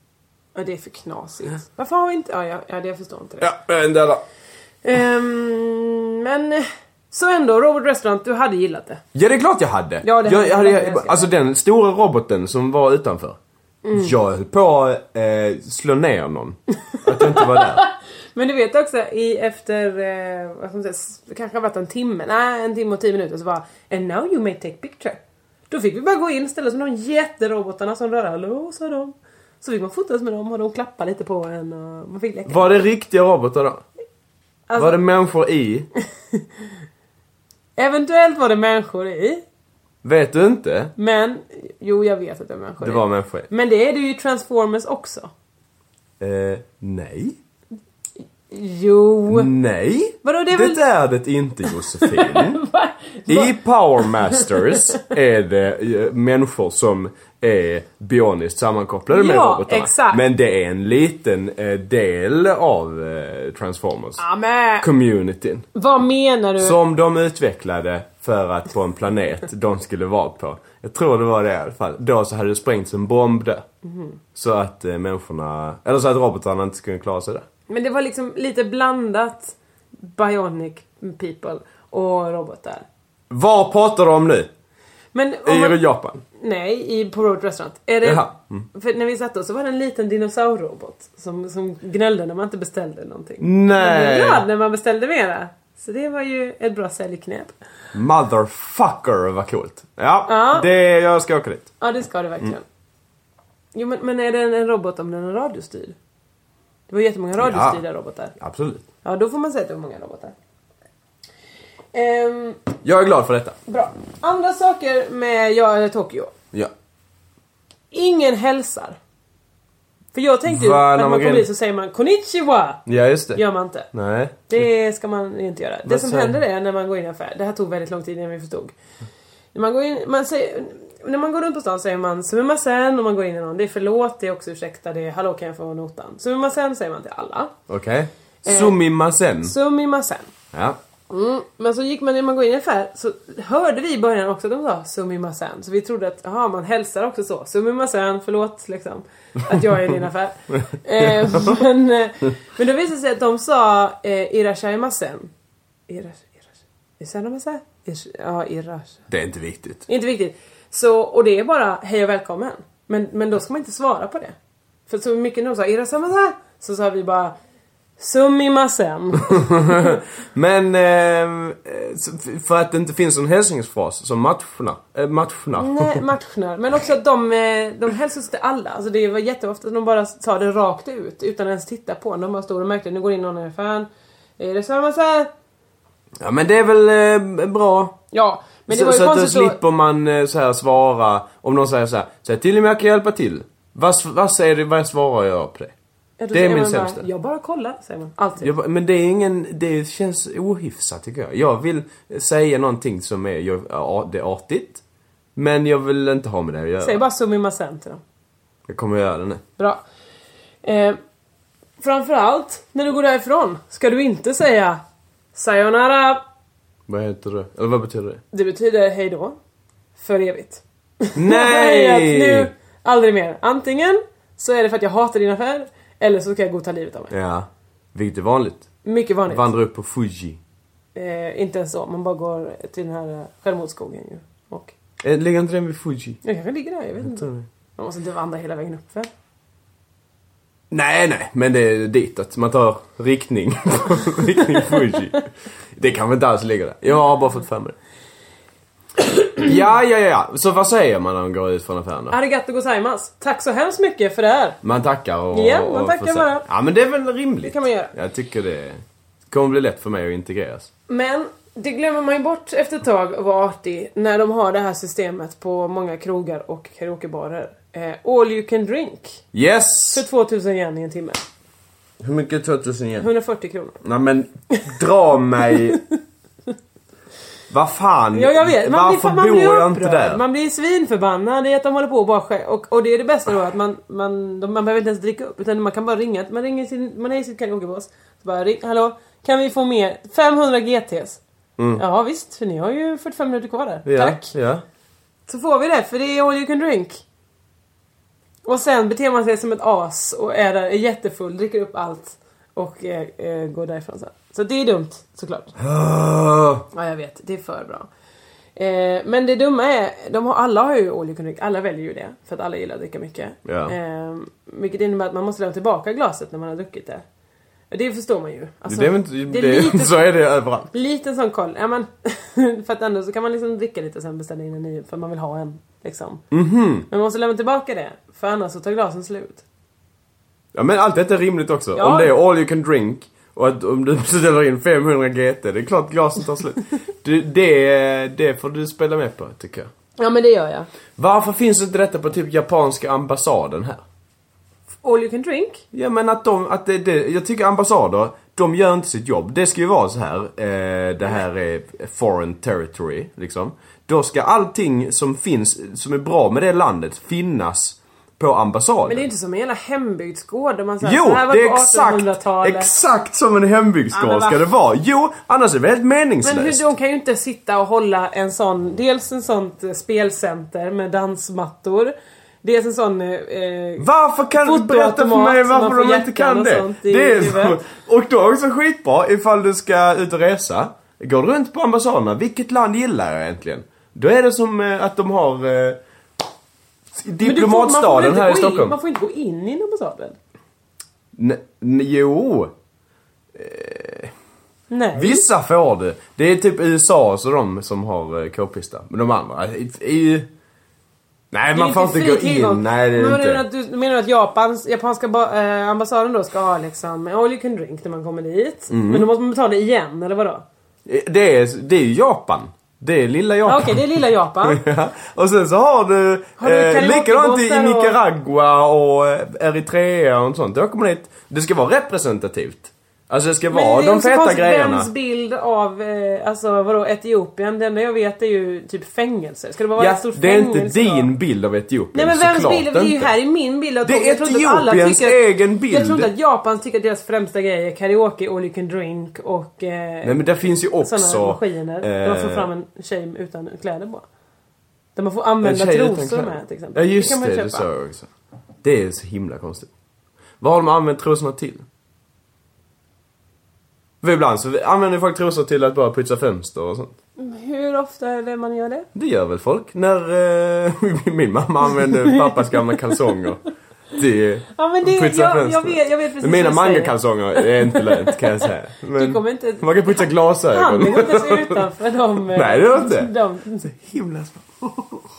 E: Ja, det är för knasigt. Varför har vi inte... Ja, ja, ja det jag förstår inte det.
B: Ja, en del av-
E: Ehm, men... eh, Så ändå, Robert Restaurant, du hade gillat det.
B: Ja, det är klart jag hade.
E: Ja, det
B: jag,
E: hade
B: jag hade,
E: jag älskat.
B: alltså den stora roboten som var utanför.
E: Mm.
B: Jag höll på att eh, slå ner någon. Att jag inte var där.
E: Men du vet också i efter, eh, vad ska man säga, s- det kanske har varit en timme, nej en timme och tio minuter så bara And now you may take picture. Då fick vi bara gå in, ställa oss med de jätterobotarna som rörde, hallå sa de. Så fick man fotas med dem och de klappade lite på en och man fick leka.
B: Var det riktiga robotar då?
E: Alltså-
B: Var det människor i?
E: Eventuellt var det människor i,
B: Vet du inte?
E: men jo jag vet att det var människor
B: Det
E: i.
B: var människor i.
E: Men det är det ju i Transformers också.
B: Eh, nej.
E: Jo.
B: Mm. Nej.
E: Vadå, det är väl-
B: det är det inte Josefin.
E: Va?
B: I Power Masters är det eh, människor som är bioniskt sammankopplade med
E: Ja,
B: robotarna.
E: exakt.
B: Men det är en liten eh, del av eh, Transformers.
E: Ja, men,
B: Communityn.
E: vad menar du?
B: Som de utvecklade för att på en planet de skulle vara på. Jag tror det var det i alla fall. Då så hade det sprängts en bomb där. Så att eh, människorna, eller så att robotarna inte skulle klara sig där.
E: Men det var liksom lite blandat Bionic people och robotar.
B: Vad pratar de om nu?
E: Men
B: I
E: om man,
B: Japan?
E: Nej, i, på Road Restaurant. Är det,
B: Jaha. mm.
E: För när vi satt då så var det en liten dinosaurrobot som, som gnällde när man inte beställde någonting. Man blev
B: Nej!
E: glad när man beställde mera. Så det var ju ett bra säljknep.
B: Motherfucker vad coolt. Ja,
E: Ja.
B: det, jag ska åka dit.
E: Ja, det ska det verkligen.
B: Mm.
E: Jo, men, men är det en, en robot om den är radiostyrd? Det var jättemånga radiostyrda robotar.
B: Absolut.
E: Ja, då får man säga att det var många robotar. Ehm,
B: Jag är glad för detta.
E: bra. Andra saker med Jag är Tokyo.
B: Ja.
E: Ingen hälsar. För jag tänkte ju
B: Va,
E: att
B: när
E: när
B: man
E: man
B: går in-
E: kommer dit så säger man Konnichiwa!
B: Ja, just det.
E: Gör man inte.
B: Nej.
E: Det ska man inte göra. Det
B: Vad
E: som
B: säger-
E: händer är när man går in i affär, det här tog väldigt lång tid innan vi förstod. När man går in, man säger, när man går runt på stan säger man sumimasen och man går in i någon, det är förlåt, det är också ursäkta, det är hallå kan jag få notan. Sumimasen säger man till alla.
B: Okej.
E: Eh.
B: Sumimasen.
E: Sumimasen.
B: Ja.
E: Mm. Men så gick man, när man går in i affär så hörde vi i början också att de sa sumimasen. Så vi trodde att, jaha man hälsar också så. Sumimasen, förlåt liksom. Att jag är i din affär. eh, men, eh, men då visade det sig att de sa eh, irashaimasen. Irash, irash, isanamase? Irash, ja, irash.
B: Det är inte viktigt.
E: Inte viktigt. Så, och det är bara hej och välkommen. Men, men då ska man inte svara på det. För så mycket de sa irashaimasen så sa vi bara sumimasen.
B: Men, eh, s- för att det inte finns en hälsningsfras som matchnar. Äh, matchnar.
E: Nej, matchnar. Men också att de, eh, de hälsas till alla. Alltså det var jätteofta att de bara sa det rakt ut utan ens titta på en. De bara stod och märkte, nu går in någon i affären. Är det samma så här?
B: Ja, men det är väl eh, bra.
E: Ja, men det
B: så
E: var ju
B: så att då
E: konstigt då.
B: slipper man eh, så här svara, om någon säger så här, säg till om jag kan hjälpa till. Vad, s- vad säger du, vad svarar jag på det?
E: Ja, då
B: det är
E: säger
B: min
E: man bara,
B: sämsta.
E: Jag bara kollar, säger man. Alltid.
B: Jag, bara, men det är ingen, det känns ohyfsat tycker jag. Jag vill säga någonting som är, jag, ja, det är artigt. Men jag vill inte ha med det att göra.
E: Säg bara sumimasen till dem.
B: Jag kommer göra det nu.
E: Bra. Eh, framförallt, när du går därifrån ska du inte säga Sayonara.
B: Vad heter det? Eller vad betyder det?
E: Det betyder hejdå. För evigt.
B: Nej!
E: att nu, aldrig mer. Antingen så är det för att jag hatar din affär, eller så ska jag gå och ta livet av mig.
B: Ja. Vilket är vanligt.
E: Mycket vanligt.
B: Vandra upp på Fuji.
E: eh, inte ens så, man bara går till den här eh, självmordsskogen ju. Och
B: Eh, Ligger inte den vid Fuji?
E: jag kanske ligger där, jag vet inte.
B: Tror ni?
E: Man måste inte vandra hela vägen upp väl?
B: Nej, nej, men det är ditåt. Man tar riktning. riktning Fuji. Det kanske inte alls ligger där. Jag har bara fått för mig det. Ja, ja, ja. Så vad säger man när man går ut från affären då?
E: Arigato gozaimasu! Tack så hemskt mycket för det här!
B: Man tackar och...
E: Ja, man
B: och
E: tackar
B: får se.
E: bara.
B: Ja, men det är väl rimligt. Det
E: kan man göra.
B: Jag tycker det kommer bli lätt för mig att integreras.
E: Men det glömmer man ju bort efter ett tag att vara artig när de har det här systemet på många krogar och karaokebarer. Eh, all you can drink
B: Yes!
E: för 2000 yen i en timme.
B: Hur mycket är 2000 igen?
E: 140 kronor.
B: Nej men, dra mig... Vad fan?
E: Ja, jag vet. Man
B: Varför
E: blir, man
B: bor
E: blir
B: jag
E: upprörd.
B: inte där?
E: Man blir svinförbannad i att de håller på och bara skä- och, och det är det bästa då att man, man, de, man behöver inte ens dricka upp utan man kan bara ringa. Man, ringer sin, man är i sitt karaokebås. Så bara ring, hallå, kan vi få mer? 500 GTs. Ja visst, för ni har ju 45 minuter kvar där.
B: Mm. Ja,
E: Tack.
B: Ja.
E: Så får vi det, för det är all you can drink. Och sen beter man sig som ett as och är, där, är jättefull, dricker upp allt och eh, eh, går därifrån sen. Så det är dumt, såklart.
B: Ah,
E: Ja, jag vet. Det är för bra. Eh, men det dumma är, de har, alla har ju all you can drink, alla väljer ju det. För att alla gillar att dricka mycket.
B: Ja.
E: Eh, vilket innebär att man måste lämna tillbaka glaset när man har druckit det. Och Det förstår man ju. Alltså,
B: det är väl inte...
E: det
B: Det
E: är lite,
B: så är det överallt.
E: liten sån koll. Ja, men, för att ändå så kan man liksom dricka lite och sen beställa in en ny för man vill ha en. Liksom.
B: Mhm.
E: Men man måste lämna tillbaka det, för annars så tar glasen slut.
B: Ja men allt detta är rimligt också.
E: Ja.
B: Om det är all you can drink och att om du beställer in 500 GT, det är klart glasen tar slut. Du, det, det får du spela med på, tycker jag.
E: Ja men det gör jag.
B: Varför finns inte detta på typ japanska ambassaden här?
E: All you can drink?
B: Ja men att de, att det, det, jag tycker ambassader, de gör inte sitt jobb. Det ska ju vara så här, eh, det här är foreign territory, liksom. Då ska allting som finns, som är bra med det landet, finnas på ambassaden.
E: Men det är inte som en jävla hembygdsgård där man säger
B: Jo,
E: så här var
B: det
E: det
B: är
E: på
B: exakt,
E: 1800-talet.
B: exakt som en
E: Ja, men
B: hembygdsgård
E: va?
B: ska det vara. Jo, annars är det helt
E: Men
B: meningslöst.
E: hur, de kan ju inte sitta och hålla en sån, dels en sånt eh, spelcenter med dansmattor. Dels en sån... eh, Eh,
B: Varför kan du
E: Fotoautomat
B: berätta för mig
E: som man
B: varför
E: får
B: de inte
E: hjärtan
B: kan
E: och
B: det?
E: sånt i
B: det är så,
E: huvudet.
B: och då är det också skitbra ifall du ska ut och resa. Går runt på ambassaderna, vilket land gillar jag egentligen? Då är det som eh, att de har eh,
E: men du får- man får väl
B: diplomatstaden
E: inte
B: här
E: gå
B: i Stockholm.
E: In, man får inte gå in i ambassaden.
B: N- n- jo,
E: Nej.
B: vissa får det. Det är typ USA och så de som har eh, k-pista. Men de andra, eh, i- i... Nej,
E: Det är
B: man
E: inte
B: får inte
E: fri
B: gå
E: tillgång.
B: in. Nej, det är
E: men
B: det
E: vad Menar
B: inte.
E: att du, du menar att Japans, japanska ba, eh,
B: Mm.
E: ambassaden då ska ha liksom all you can drink när man kommer dit? Men då måste man betala igen, eller vadå?
B: Det är, det är ju Japan. Det är lilla Japan.
E: Ja, Okej, det är lilla Japan.
B: Ja. Och sen så har du,
E: Har du
B: eh,
E: karaokebussar
B: likadant i, i
E: och-
B: Nicaragua och eh, Eritrea och sånt. Då kommer det hit. Det ska vara representativt. Alltså det ska vara
E: ju
B: de
E: också
B: feta
E: konstigt,
B: grejerna.
E: Vems bild av, eh, alltså vadå, Etiopien? Det enda jag vet är ju typ fängelse. Ska det bara vara
B: Ja,
E: ett stort
B: det är
E: fängelse?
B: inte
E: då?
B: din bild av Etiopien,
E: Nej men vems
B: såklart
E: bild? Det är ju
B: inte.
E: här i min bild. att-
B: Det är
E: jag tror inte att alla
B: Etiopiens
E: tycker att-
B: egen bild.
E: Jag tror inte att Japan tycker att deras främsta grej är karaoke, all you can drink och... Eh,
B: Nej men det finns ju också... eh,
E: Sådana maskiner. Där man får fram en tjej utan kläder på. Där man får använda
B: tjej utan
E: trosor
B: kläder.
E: med till exempel.
B: Ja just
E: kan
B: det,
E: man
B: det sa jag också. Det är så himla konstigt. Vad har de använt trosorna till? För ibland så använder folk trosor till att bara putsa fönster och sånt.
E: Hur ofta är det man gör det?
B: Det gör väl folk. När eh, min mamma använde pappas gamla kalsonger till
E: Ja, men det-
B: att putsa
E: jag- jag
B: fönster.
E: vet- jag vet precis
B: Men Mina
E: vad du säger.
B: mangakalsonger är inte lönt kan jag säga. Men
E: Du kommer inte-
B: Man kan putsa glasögon.
E: Handen går inte ens utanför de... eh,
B: Nej, det gör inte.
E: De,
B: Himla smart.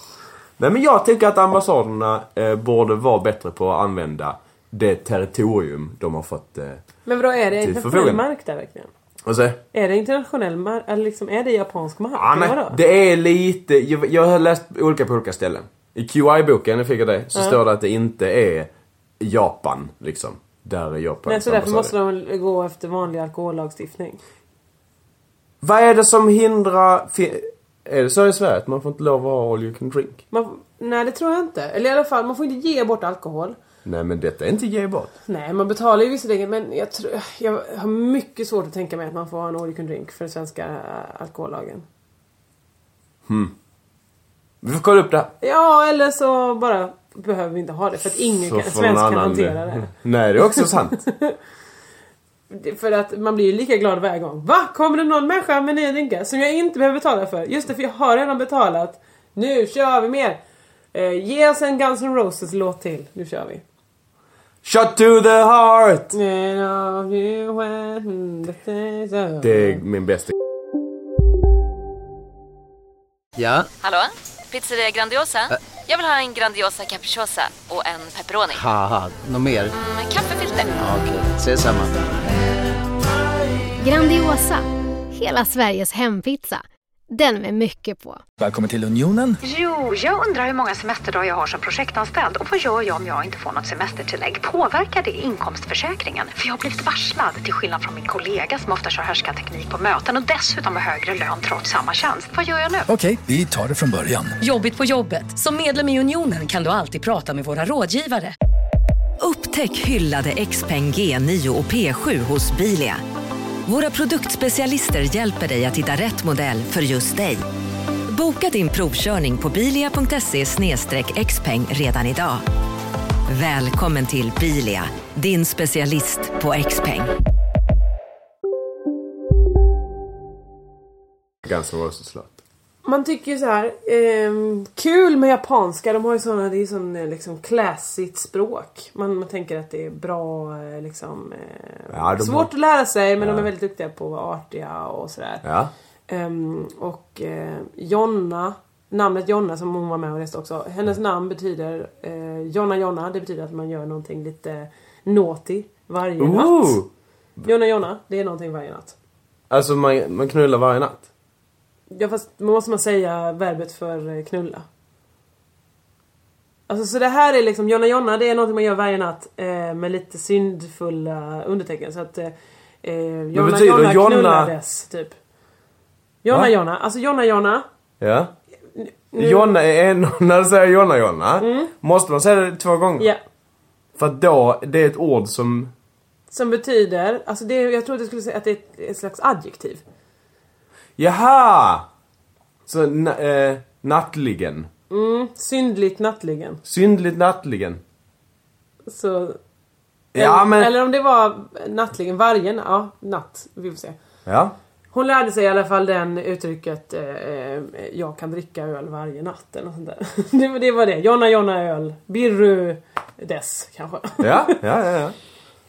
B: Nej men jag tycker att ambassaderna eh, borde vara bättre på att använda det territorium de har fått. Eh,
E: men vadå, är det
B: Till
E: internationell
B: förfogande.
E: mark där verkligen?
B: vad säger jag?
E: Är det internationell mark? Eller liksom, är det japansk mark?
B: ah,
E: Eller
B: nej,
E: vadå?
B: det är lite, jag, jag har läst olika på olika ställen. I QI-boken, jag fick jag det, så står det att det inte är Japan liksom. Där är Japan.
E: Nej, så därför måste de gå efter vanlig alkohollagstiftning.
B: Vad är det som hindrar... fi- Är det så i Sverige att man får inte lov att ha all you can drink?
E: Man, nej, det tror jag inte. Eller i alla fall, man får inte ge bort alkohol.
B: Nej men detta är inte gebart.
E: Nej, man betalar ju visserligen men jag, tror, jag har mycket svårt att tänka mig att man får ha en all you can drink för den svenska eh, alkohollagen.
B: Vi får kolla upp det här.
E: Ja, eller så bara behöver vi inte ha det för att ingen
B: Så
E: kan,
B: får någon
E: svensk kan
B: annan-
E: hantera det.
B: Nej det är också sant.
E: Det- För att man blir ju lika glad varje gång. Va? Kommer det någon människa med nya drinkar som jag inte behöver betala för? Just det, för jag har redan betalat. Nu kör vi mer! Eh, ge oss en Guns N' Roses-låt till. Nu kör vi.
B: Shot to the heart!
E: And all you when the things are-
B: Det är min bästa
D: Ja,
F: Hallå? Pizzeria Grandiosa? Jag vill ha en Grandiosa capriciosa och en pepperoni.
D: haha, något mer?
F: Med kaffefilter.
D: Ja, Okej, ses samma.
G: Grandiosa, hela Sveriges hempizza. Den med mycket på.
H: Välkommen till Unionen.
I: Jo, jag undrar hur många semesterdagar jag har som projektanställd och vad gör jag om jag inte får något semestertillägg? Påverkar det inkomstförsäkringen? För jag har blivit varslad, till skillnad från min kollega som ofta kör härskarteknik på möten och dessutom har högre lön trots samma tjänst. Vad gör jag nu?
H: Okej, vi tar det från början.
J: Jobbigt på jobbet. Som medlem i Unionen kan du alltid prata med våra rådgivare.
K: Upptäck hyllade XPeng G9 och P7 hos Bilia. Våra produktspecialister hjälper dig att hitta rätt modell för just dig. Boka din provkörning på bilia.se xpeng redan idag. Välkommen till Bilia, din specialist på XPeng.
B: Guns N' Roses-låt.
E: Man tycker ju så här, ehm, kul med japanska, de har ju såna, det är ju sån eh, liksom classigt språk. Man, man tänker att det är bra eh, liksom, eh,
B: Ja, de
E: svårt
B: har-
E: att lära sig men de är väldigt duktiga på att vara artiga och sådär.
B: Ja.
E: Ehm, och eh, Jonna, namnet Jonna som hon var med och läste också, hennes
B: Mm.
E: namn betyder eh, Jonna Jonna, det betyder att man gör någonting lite naughty varje
B: Ooh!
E: natt. Jonna Jonna, det är någonting varje natt.
B: Alltså man, man knullar varje natt.
E: Ja fast man måste man säga verbet för eh, knulla? Alltså så det här är liksom, Jonna Jonna det är någonting man gör varje natt eh, med lite syndfulla undertecken så att eh, eh, Jonna
B: betyder
E: Jonna
B: Jonna-
E: knullades typ. Jonna
B: Va?
E: Jonna, alltså Jonna Jonna.
B: Ja. Jonna är en, när du säger Jonna Jonna, måste man säga det två gånger?
E: Mm. Ja.
B: För att då, det är ett ord som...
E: Som betyder, alltså det, är- jag trodde jag skulle säga att det är ett, ett slags adjektiv.
B: Jaha! Så, na, eh, nattligen.
E: Syndligt nattligen.
B: Syndligt nattligen.
E: Så,
B: Ja
E: eller,
B: men...
E: eller om det var nattligen, varje na- ja, natt. Vi får se.
B: Ja.
E: Hon lärde sig i alla fall den uttrycket eh, eh, Jag kan dricka öl varje natt eller något sånt där. Det, var- det var det. Jonna Jonna öl. Birru dess kanske.
B: Ja, ja, ja. ja.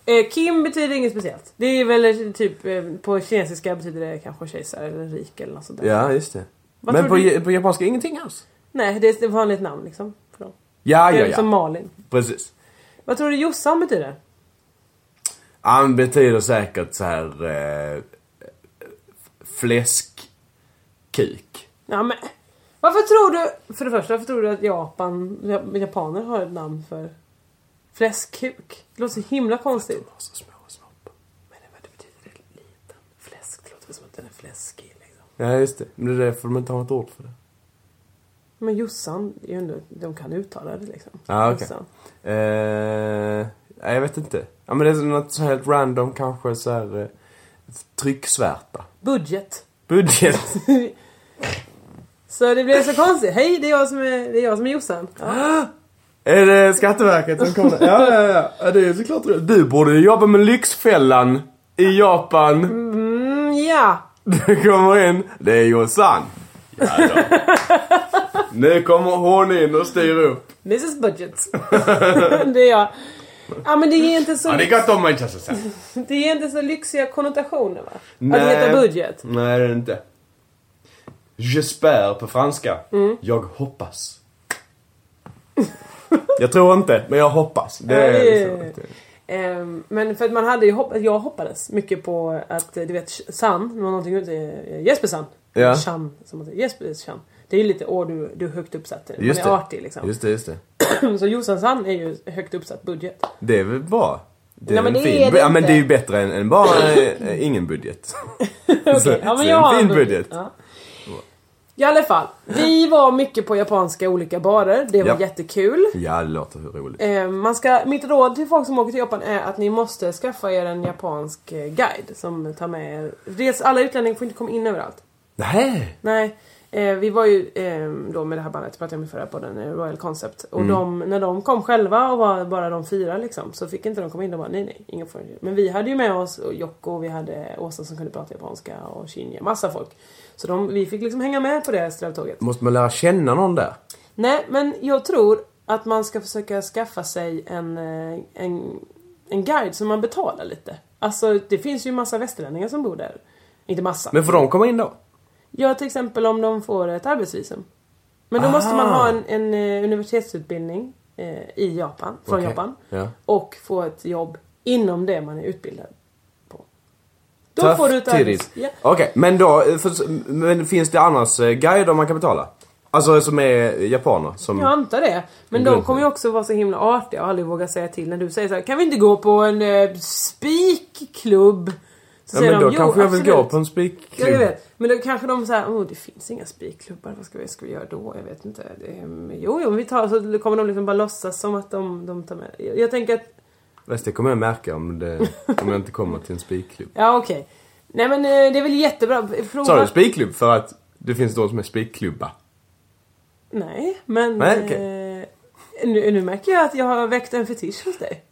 E: Eh, Kim betyder inget speciellt. Det är väl typ eh, på kinesiska betyder det kanske kejsare eller rik eller något sånt där.
B: ja just det.
E: Vad
B: men
E: tror
B: på,
E: du-
B: ja- på japanska ingenting alls.
E: Nej, det är ett vanligt namn liksom. För dem.
B: Ja,
E: det är
B: ja,
E: liksom
B: ja.
E: Malin.
B: Precis.
E: Vad tror du Jossan betyder?
B: Han betyder säkert så här eh, fläskkuk.
E: Ja, men, varför tror du, för det första, varför tror du att Japan, ja- japaner har ett namn för fläskkuk? Det låter så himla konstigt. De har så små snoppar. Men det, vad det betyder det? Liten fläsk, det låter som att den är fläskig. Liksom.
B: Ja, just det. Men det är därför de inte har ett ord för det.
E: Men Jossan, det är ju ändå, de kan uttala det liksom.
B: Ja, ah, okej.
E: Jossan.
B: Eh, nej, jag vet inte. Ja, men det är något så helt random kanske så här eh, trycksvärta.
E: Budget.
B: Budget.
E: Så det blev så konstigt. Hej, det är jag som är, det är, jag som är Jossan. Ja.
B: är det Skatteverket som kommer? Ja, ja, ja. ja. Det är såklart det. Du borde ju jobba med Lyxfällan i Japan.
E: Mm, ja.
B: Du kommer in. Det är Jossan. Ja, då. nu kommer hon in och styr upp.
E: Mrs Budget. det är jag. Ja men det är inte så,
B: Ja, det är gott om man inte så här.
E: det är inte så lyxiga konnotationer va? Att heta budget.
B: Nej, det är det inte. J'espère på franska.
E: Mm.
B: Jag hoppas. jag tror inte, men jag hoppas. Det
E: Ja,
B: är
E: det är-
B: liksom inte-
E: Eh, Ehm, men för att man hade ju hopp- jag hoppades mycket på att eh, du vet San, det var någonting ute, eh, Jesper San.
B: Ja.
E: Chan, som man säger. Jesper Chan. Det är ju lite, åh du, du är högt uppsatt. Man
B: Just
E: är
B: det.
E: artig liksom.
B: Just det, just det.
E: så Jossan San är ju högt uppsatt budget.
B: Det är väl bra. Det är
E: Nej, men
B: en
E: det
B: fin
E: är det
B: ja, men det
E: inte.
B: är ju bättre än, än bara eh, ingen budget. så,
E: Ja,
B: så
E: men jag har
B: en fin
E: en budget.
B: budget.
E: Ja. I alla fall, vi var mycket på japanska olika barer. Det var
B: Ja.
E: jättekul.
B: Ja, det låter hur roligt.
E: Eh, Man ska, mitt råd till folk som åker till Japan är att ni måste skaffa er en japansk eh, guide som tar med er. Dels, alla utlänningar får inte komma in överallt.
B: Nej.
E: Nej, eh, vi var ju eh, då med det här bandet, jag pratade om i förra podden, eh, Royal Concept. Och
B: Mm.
E: de, när de kom själva och var bara de fyra liksom, så fick inte de komma in. De bara nej nej, ingen får Men vi hade ju med oss och Jocko och vi hade Åsa som kunde prata japanska och Shinja, massa folk. Så de, vi fick liksom hänga med på det här strövtåget.
B: Måste man lära känna någon där?
E: Nej, men jag tror att man ska försöka skaffa sig en, eh, en, en guide som man betalar lite. Alltså det finns ju massa västerlänningar som bor där. Inte massa.
B: Men får de komma in då?
E: Ja, till exempel om de får ett arbetsvisum. Men då måste man
B: Ah.
E: ha en, en eh, universitetsutbildning eh, i Japan, från
B: Okej.
E: Japan.
B: Ja.
E: Och få ett jobb inom det man är utbildad på. Då
B: Tough
E: får du ett arbets...
B: titties.
E: Ja.
B: Okej, men då, eh, för, men finns det annars eh, guider man kan betala? Alltså som är japaner som...
E: Jag antar det. Men
B: Grundfärg.
E: de kommer ju också vara så himla artiga och aldrig våga säga till när du säger så här, Kan vi inte gå på en eh, spikklubb? Så
B: ja,
E: säger
B: men då
E: de, "Jo,
B: kanske jag vill
E: absolut."
B: gå på en
E: Ja,
B: spikklubb.
E: jag vet. Men då kanske de säger, åh det finns inga spikklubbar, vad ska vi, ska vi göra då? Jag vet inte. Det, är- mm, jo, jo, men vi tar, så kommer de liksom bara låtsas som att de, de tar med. Jag, jag tänker att,
B: Fast det kommer jag märka om, det, om jag inte kommer till en spikklubb.
E: ja okej. Nej men eh, det är väl jättebra. Prova.
B: Sa du spikklubb för att det finns de som är spikklubba?
E: Nej, men...
B: Nej, okej.
E: eh, nu, nu märker jag att jag har väckt en fetisch hos dig.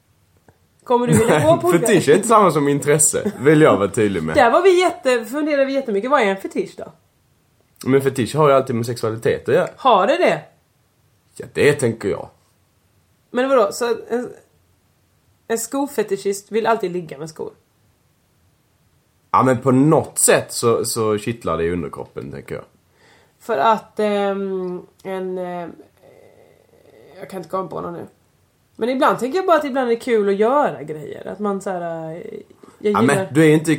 E: Kommer du vilja gå på olika-
B: Fetisch är inte samma som intresse, vill jag vara tydlig med.
E: Där var vi jätte, funderade vi jättemycket, vad är en fetisch då?
B: Men fetisch har ju alltid med sexualitet att göra.
E: Har det det?
B: Ja, det tänker jag.
E: Men vadå, så en, en skofetischist vill alltid ligga med skor?
B: Ja, men på något sätt så, så kittlar det i underkroppen, tänker jag.
E: För att ehm, en... ehm, jag kan inte komma på någon nu. Men ibland tänker jag bara att ibland är det kul att göra grejer. Att man såhär... Eh, jag
B: Ja,
E: gillar...
B: men du är inte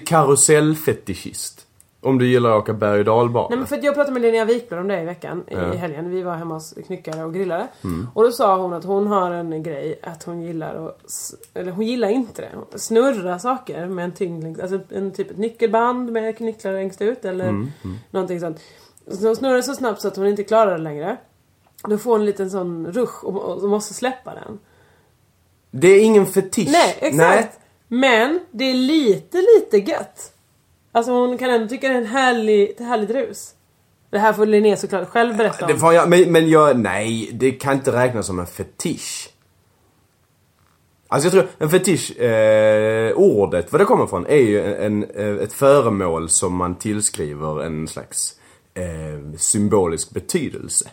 B: karusellfetischist. Om du gillar att åka berg och dalbana.
E: Nej men för att jag pratade med Linnea Wikblad om det i veckan, i-
B: Ja.
E: i helgen. Vi var hemma hos knyckare och grillare.
B: Mm.
E: Och då sa hon att hon har en grej att hon gillar att, s- eller hon gillar inte det, Hon snurra saker med en tyngd, längs- alltså en typ ett nyckelband med knycklar längst ut eller
L: Mm, mm.
E: någonting sånt. Så hon snurrar så snabbt så att hon inte klarar det längre. Då får hon en liten sån rush och, och måste släppa den.
B: Det är ingen fetisch.
E: Nej, exakt! Men det är lite, lite gött. Alltså hon kan ändå tycka det är en härlig, ett härligt rus. Det här får Linnea såklart själv berätta om.
B: Det får jag, men, men jag, nej, det kan inte räknas som en fetisch. Alltså jag tror, en fetisch, eh, ordet, vad det kommer ifrån, är ju en, en, ett föremål som man tillskriver en slags eh, symbolisk betydelse.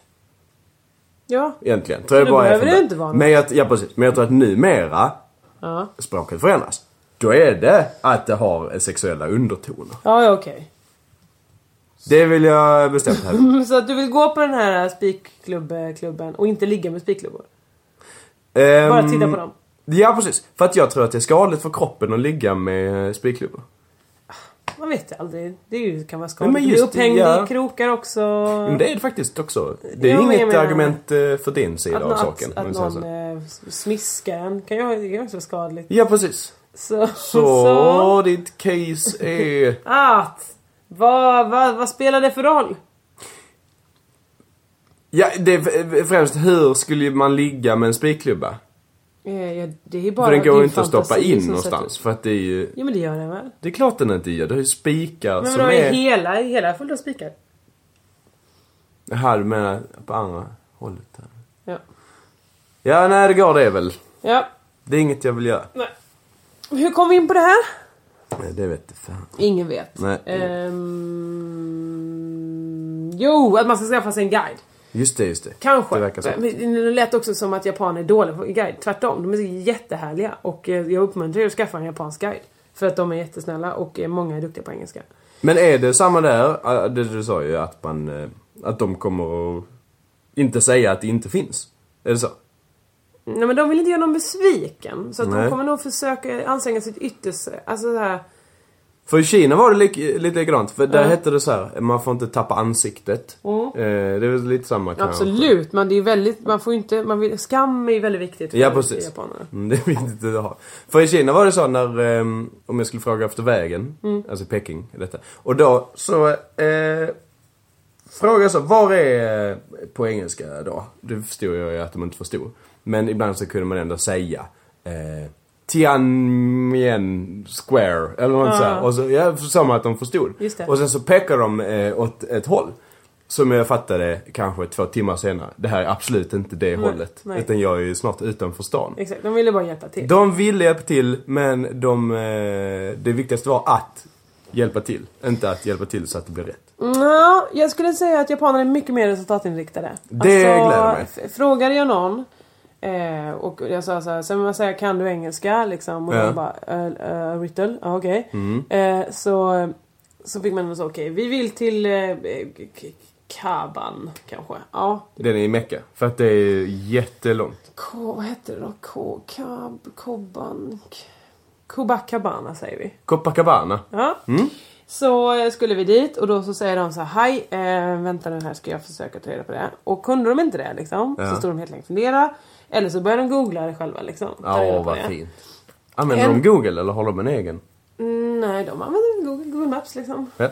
E: Ja.
B: Egentligen. Tror jag
E: Men
B: bara
E: då
B: är
E: behöver
B: från
E: det
B: början.
E: inte vara något.
B: men jag, ja, precis. Men jag tror att numera,
E: Ja,
B: språket förändras. Då är det att det har sexuella undertoner.
E: ja, ja okej.
B: Det vill jag bestämt hävda.
E: Så att du vill gå på den här spikklubbklubben och inte ligga med spikklubbor? Bara
B: Ehm,
E: titta på dem.
B: Ja precis, för att jag tror att det är skadligt för kroppen att ligga med eh, spikklubbor.
E: Man vet ju aldrig. Det är ju, kan vara
B: Nej,
E: skadligt.
B: men
E: Men just,
B: just-
E: upphängd
B: ja.
E: i krokar också.
B: Ja, Men det är det faktiskt också. Det är
E: Jo, men jag
B: inget
E: menar-
B: argument eh, för din sida
E: att,
B: av
E: någon-
B: saken. om vi
E: Att,
B: säger
E: att
B: så.
E: någon eh, smiskar en kan ju det kan ju också vara skadligt.
B: Ja, precis.
E: Så...
B: Så,
E: så.
B: ditt case är...
E: Att! Vad, vad, vad spelar det för roll?
B: Ja, det är främst hur skulle man ligga med en spikklubba?
E: Eh, ja, det är bara
B: För den går
E: din
B: ju inte att stoppa
E: fantasi
B: in
E: som
B: någonstans. För att det är ju...
E: sätter- Jo men det gör den väl?
B: Det är klart den inte gör. Det är ju spikar
E: Men
B: som
E: vadå, är
B: är...
E: hela, är hela fullt av spikar?
B: Här du menar på andra hållet här.
E: Ja.
B: Ja, nej det går det väl.
E: Ja,
B: Det är inget jag vill göra.
E: nej. Hur kom vi in på det här?
B: Nej, det vet du fan.
E: Ingen vet.
B: Nej.
E: Ehm, jo, att man ska skaffa sig en guide.
B: Just det, just det.
E: Kanske.
B: Det verkar så.
E: Men det lät också som att japaner är dåliga på guide. Tvärtom, de är jättehärliga. Och eh, jag uppmuntrar er att skaffa en japansk guide. För att de är jättesnälla och eh, många är duktiga på engelska.
B: Men är det samma där, eh, det du sa ju att man, eh, att de kommer att inte säga att det inte finns? Är det så?
E: Nej men de vill inte göra någon besviken. Så att de
B: Nej.
E: kommer nog försöka anstränga sitt yttersta. Alltså det här.
B: För i Kina var det lik, lite likadant, för där
E: Ja.
B: hette det så här, man får inte tappa ansiktet.
E: Mm.
B: Eh, det är väl lite samma kanske.
E: Absolut, men det är ju väldigt, man får ju inte, man vill, skam är ju väldigt viktigt för
B: Ja precis.
E: japanerna.
B: Mm, det är viktigt att ha. För i Kina var det så när, ehm, om jag skulle fråga efter vägen,
E: Mm.
B: alltså Peking, detta. Och då så, eh, fråga så, var är, eh, på engelska då? Det förstod jag ju att de inte förstod. Men ibland så kunde man ändå säga, eh, Tiananmen Square, eller något
E: Ja.
B: så här. Och så, ja, som att de förstod.
E: Ah. Just det.
B: Och sen så pekar de eh, åt ett håll. Som jag fattade kanske två timmar senare. Det här är absolut inte det
E: Nej,
B: hållet.
E: nej.
B: Utan jag är ju snart utanför stan.
E: Exakt, de ville bara hjälpa till.
B: De ville hjälpa till men de, eh, det viktigaste var att hjälpa till. Inte att hjälpa till så att det blir rätt.
E: Ja, jag skulle säga att japaner är mycket mer resultatinriktade. Alltså,
B: Det gläder mig.
E: f- Frågade jag någon eh, och jag sa såhär, sen man säger kan du engelska liksom? Och
B: Ja.
E: de bara, uh, uh, Riddle, ja okej.
B: Mm.
E: Eh, så, så fick man så okej, vi vill till eh, K- K- Kaban kanske. Ja.
B: Den är i Mecka. För att det är jättelångt.
E: K, vad heter det då? K, Kab, Koban, K, Kubakabana säger vi.
B: Copacabana.
E: Ja.
B: Mm.
E: Så eh, skulle vi dit och då så säger de så här, hej, eh, vänta nu här ska jag försöka ta reda på det. Och kunde de inte det liksom,
B: Ja.
E: så stod de helt enkelt och funderade. Eller så började de googla det själva liksom. ta
B: Ja,
E: reda på
B: vad
E: det.
B: fint. Använder
E: En-
B: de Google eller har de en egen?
E: Mm, nej, de använder väl Google, Google Maps liksom.
B: Ja.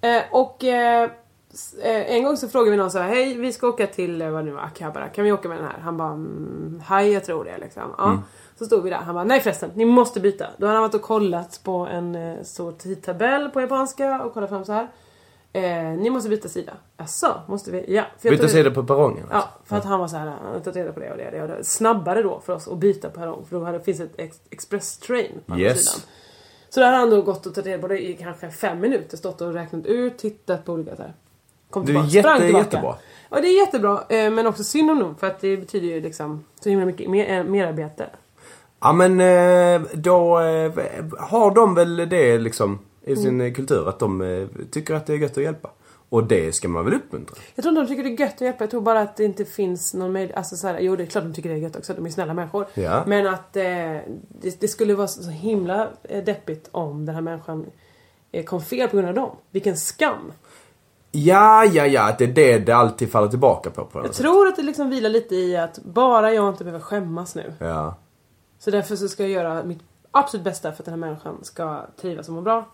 E: Eh, och eh, s- eh, en gång så frågade vi någon så här, hej vi ska åka till, eh, vad nu var, Akabara, kan vi åka med den här? Han bara, mm, hej jag tror det liksom. Ja.
L: Mm.
E: Så stod vi där, han bara, nej förresten, ni måste byta. Då hade han varit och kollat på en eh, stor tidtabell på japanska och kollat fram så här. Eh, ni måste byta sida. Jaså, måste vi? Ja. för jag
B: Byta
E: tog-
B: sida på perrongen. alltså.
E: Ja, för att han var så här, han hade tagit reda på det och det och det. Och det. Snabbare då för oss att byta perrong för då hade, finns ett ex- express train på andra
B: Yes.
E: sidan. Så där har han då gått och tagit reda på det i kanske fem minuter. Stått och räknat ut, tittat på olika så här. Kom
B: Det är
E: tillbaka,
B: jätte,
E: sprang tillbaka.
B: jättebra.
E: Ja det är jättebra eh, men också synd om dem för att det betyder ju liksom så himla mycket mer, eh, merarbete.
B: Ja men eh, då eh, har de väl det liksom
E: Mm.
B: i sin eh, kultur att de eh, tycker att det är gött att hjälpa. Och det ska man väl uppmuntra?
E: Jag tror inte de tycker det är gött att hjälpa. Jag tror bara att det inte finns någon möjlighet. Alltså så här, jo det är klart de tycker det är gött också. De är snälla människor.
B: Ja.
E: Men att eh, det, det skulle vara så himla eh, deppigt om den här människan eh, kom fel på grund av dem. Vilken skam.
B: Ja, ja, ja, att det är det det alltid faller tillbaka på. på något
E: Jag
B: sätt.
E: tror att det liksom vilar lite i att bara jag inte behöver skämmas nu.
B: Ja.
E: Så därför så ska jag göra mitt absolut bästa för att den här människan ska trivas och må bra.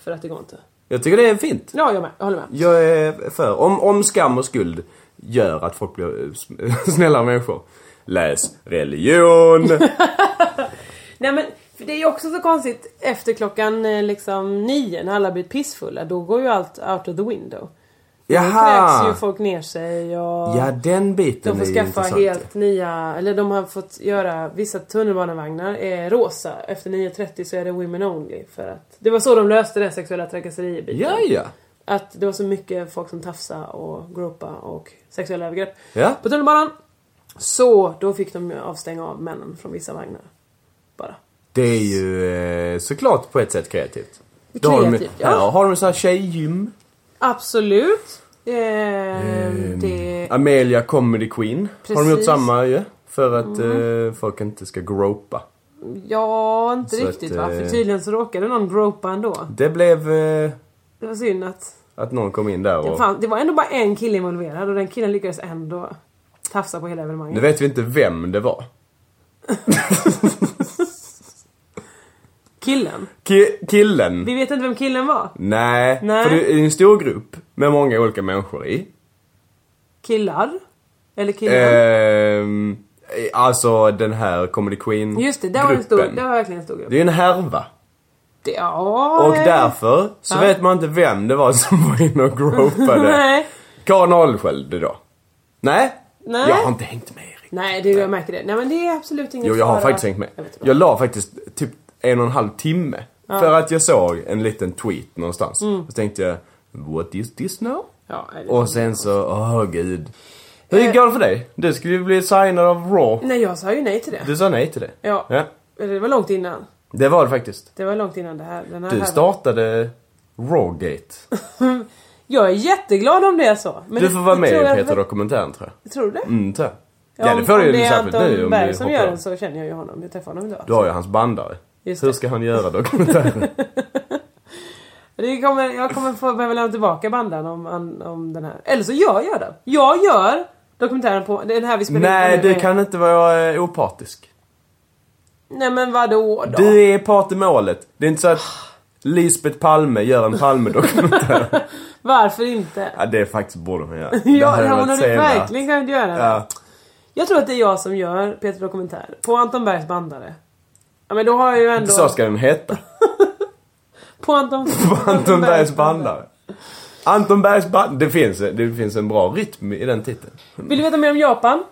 E: För att det går inte.
B: Jag tycker det är fint.
E: Ja, jag med. Jag håller med.
B: Jag är för. Om, om skam och skuld gör att folk blir eh, s- snällare människor. Läs religion!
E: Nej men för det är ju också så konstigt efter klockan eh, liksom nio när alla blir pissfulla. Då går ju allt out of the window. Då kräks ju
B: Jaha!
E: folk ner sig och
B: Ja, den biten
E: de får
B: är ju
E: skaffa
B: intressant.
E: helt nya, eller de har fått göra, vissa tunnelbanevagnar är rosa. Efter 9.30 så är det women only för att det var så de löste det sexuella trakasserier-biten.
B: Ja, ja.
E: Att det var så mycket folk som tafsade och gropa och sexuella övergrepp
B: Ja.
E: på tunnelbanan. Så då fick de ju avstänga av männen från vissa vagnar.
B: Det är ju eh, såklart på ett sätt kreativt. Då har de,
E: Kreativt, ja.
B: ja, har de så här tjejgym.
E: Absolut. Eh,
B: Ehm,
E: det...
B: Amelia Comedy Queen har de gjort
E: Precis. Mm.
B: samma ju. För att eh, folk inte ska gropa.
E: Ja, inte
B: Så
E: riktigt
B: att,
E: va?
B: eh,
E: För tydligen så råkade någon gropa ändå.
B: Det blev eh,
E: Det var synd att
B: att någon kom in där
E: det,
B: och...
E: fann, det var ändå bara en kille involverad och den killen lyckades ändå tafsa på hela evenemanget.
B: Nu vet vi inte vem det var.
E: Killen?
B: Ki- killen.
E: Vi vet inte vem killen var.
B: Nej,
E: Nej.
B: för det är en stor grupp med många olika människor i.
E: Killar? Eller killen?
B: Ehm, alltså den här Comedy Queen
E: Just det, det var, en stor,
B: gruppen.
E: det var verkligen en stor grupp.
B: Det är en härva.
E: Det, ja,
B: Och
E: eh,
B: därför så
E: Ja.
B: vet man inte vem det var som var inne och gropade.
E: Nej.
B: Karin Ahlsköld då? Nej?
E: Nej.
B: Jag har inte hängt med.
E: Nej, det, jag märker det. Nej men det är absolut inget
B: Jo, jag har
E: fara.
B: faktiskt hängt med.
E: Jag vet inte.
B: Jag la faktiskt typ en och en halv timme.
E: Ja.
B: För att jag såg en liten tweet någonstans.
E: Mm.
B: Och så tänkte jag, what is this now?
E: Ja, nej, det-
B: Och sen så, åh gud.
E: Eh.
B: Hur går det för dig? Du skulle ju bli signad av Raw.
E: Nej, jag sa ju nej till det.
B: Du sa nej till det.
E: Ja. Eller Det var långt innan.
B: Det var det faktiskt.
E: Det var långt innan det här. Den här
B: Du
E: här-
B: startade Rawgate.
E: Jag är jätteglad om det är så. Men
B: Du
E: det-
B: får vara
E: det
B: med
E: tror
B: i
E: jag-
B: Peter Dokumentären tror jag.
E: Tror du det?
B: Mm, tror jag.
E: Ja,
B: Ja, det får
E: om,
B: du
E: om
B: ju
E: det är
B: särskilt nu
E: Anton
B: om du
E: Berg som
B: hoppar
E: gör
B: av.
E: den så känner jag ju honom. Jag träffade honom idag.
B: Du har ju hans bandare.
E: Just
B: Hur ska han göra dokumentären?
E: Det kommer, jag kommer få, behöva lämna tillbaka bandan om, om, om den här. Eller så jag gör den. Jag gör dokumentären på den här vi spelar
B: Nej,
E: in på nu.
B: du kan inte vara eh, opartisk.
E: Nej men vadå då?
B: Du är part i målet. Det är inte så att Lisbeth Palme gör en Palme-dokumentär.
E: Varför inte?
B: ja, det faktiskt borde hon göra. Det
E: Ja,
B: hade
E: det hon
B: varit
E: hade
B: sevärt.
E: verkligen kunnat göra det.
B: Ja.
E: Jag tror att det är jag som gör Peter Dokumentär. På Anton Bergs bandare. Ja men då har jag ju ändå...
B: Så ska den heta.
E: På Anton...
B: Anton Bergs bandare. Anton Bergs bandare. Det finns, det finns en bra rytm i den titeln.
E: Vill du veta mer om Japan?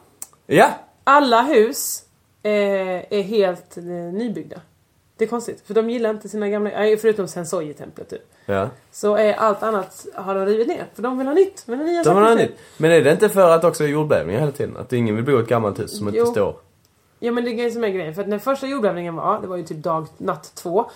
B: Ja!
E: Alla hus eh, är helt eh, nybyggda. Det är konstigt, för de gillar inte sina gamla... nej, Förutom Sensoji-templet typ.
B: ja.
E: Så är allt annat har de rivit ner. För de vill ha nytt. Men nya
B: Det var
E: saker.
B: något nytt. Men är det inte för att också jordbävningar hela tiden? Att ingen vill bo i ett gammalt hus som
E: Jo.
B: inte står?
E: Ja men det är grejen som är grejen. För att när första jordbävningen var, det var ju typ dag, natt två.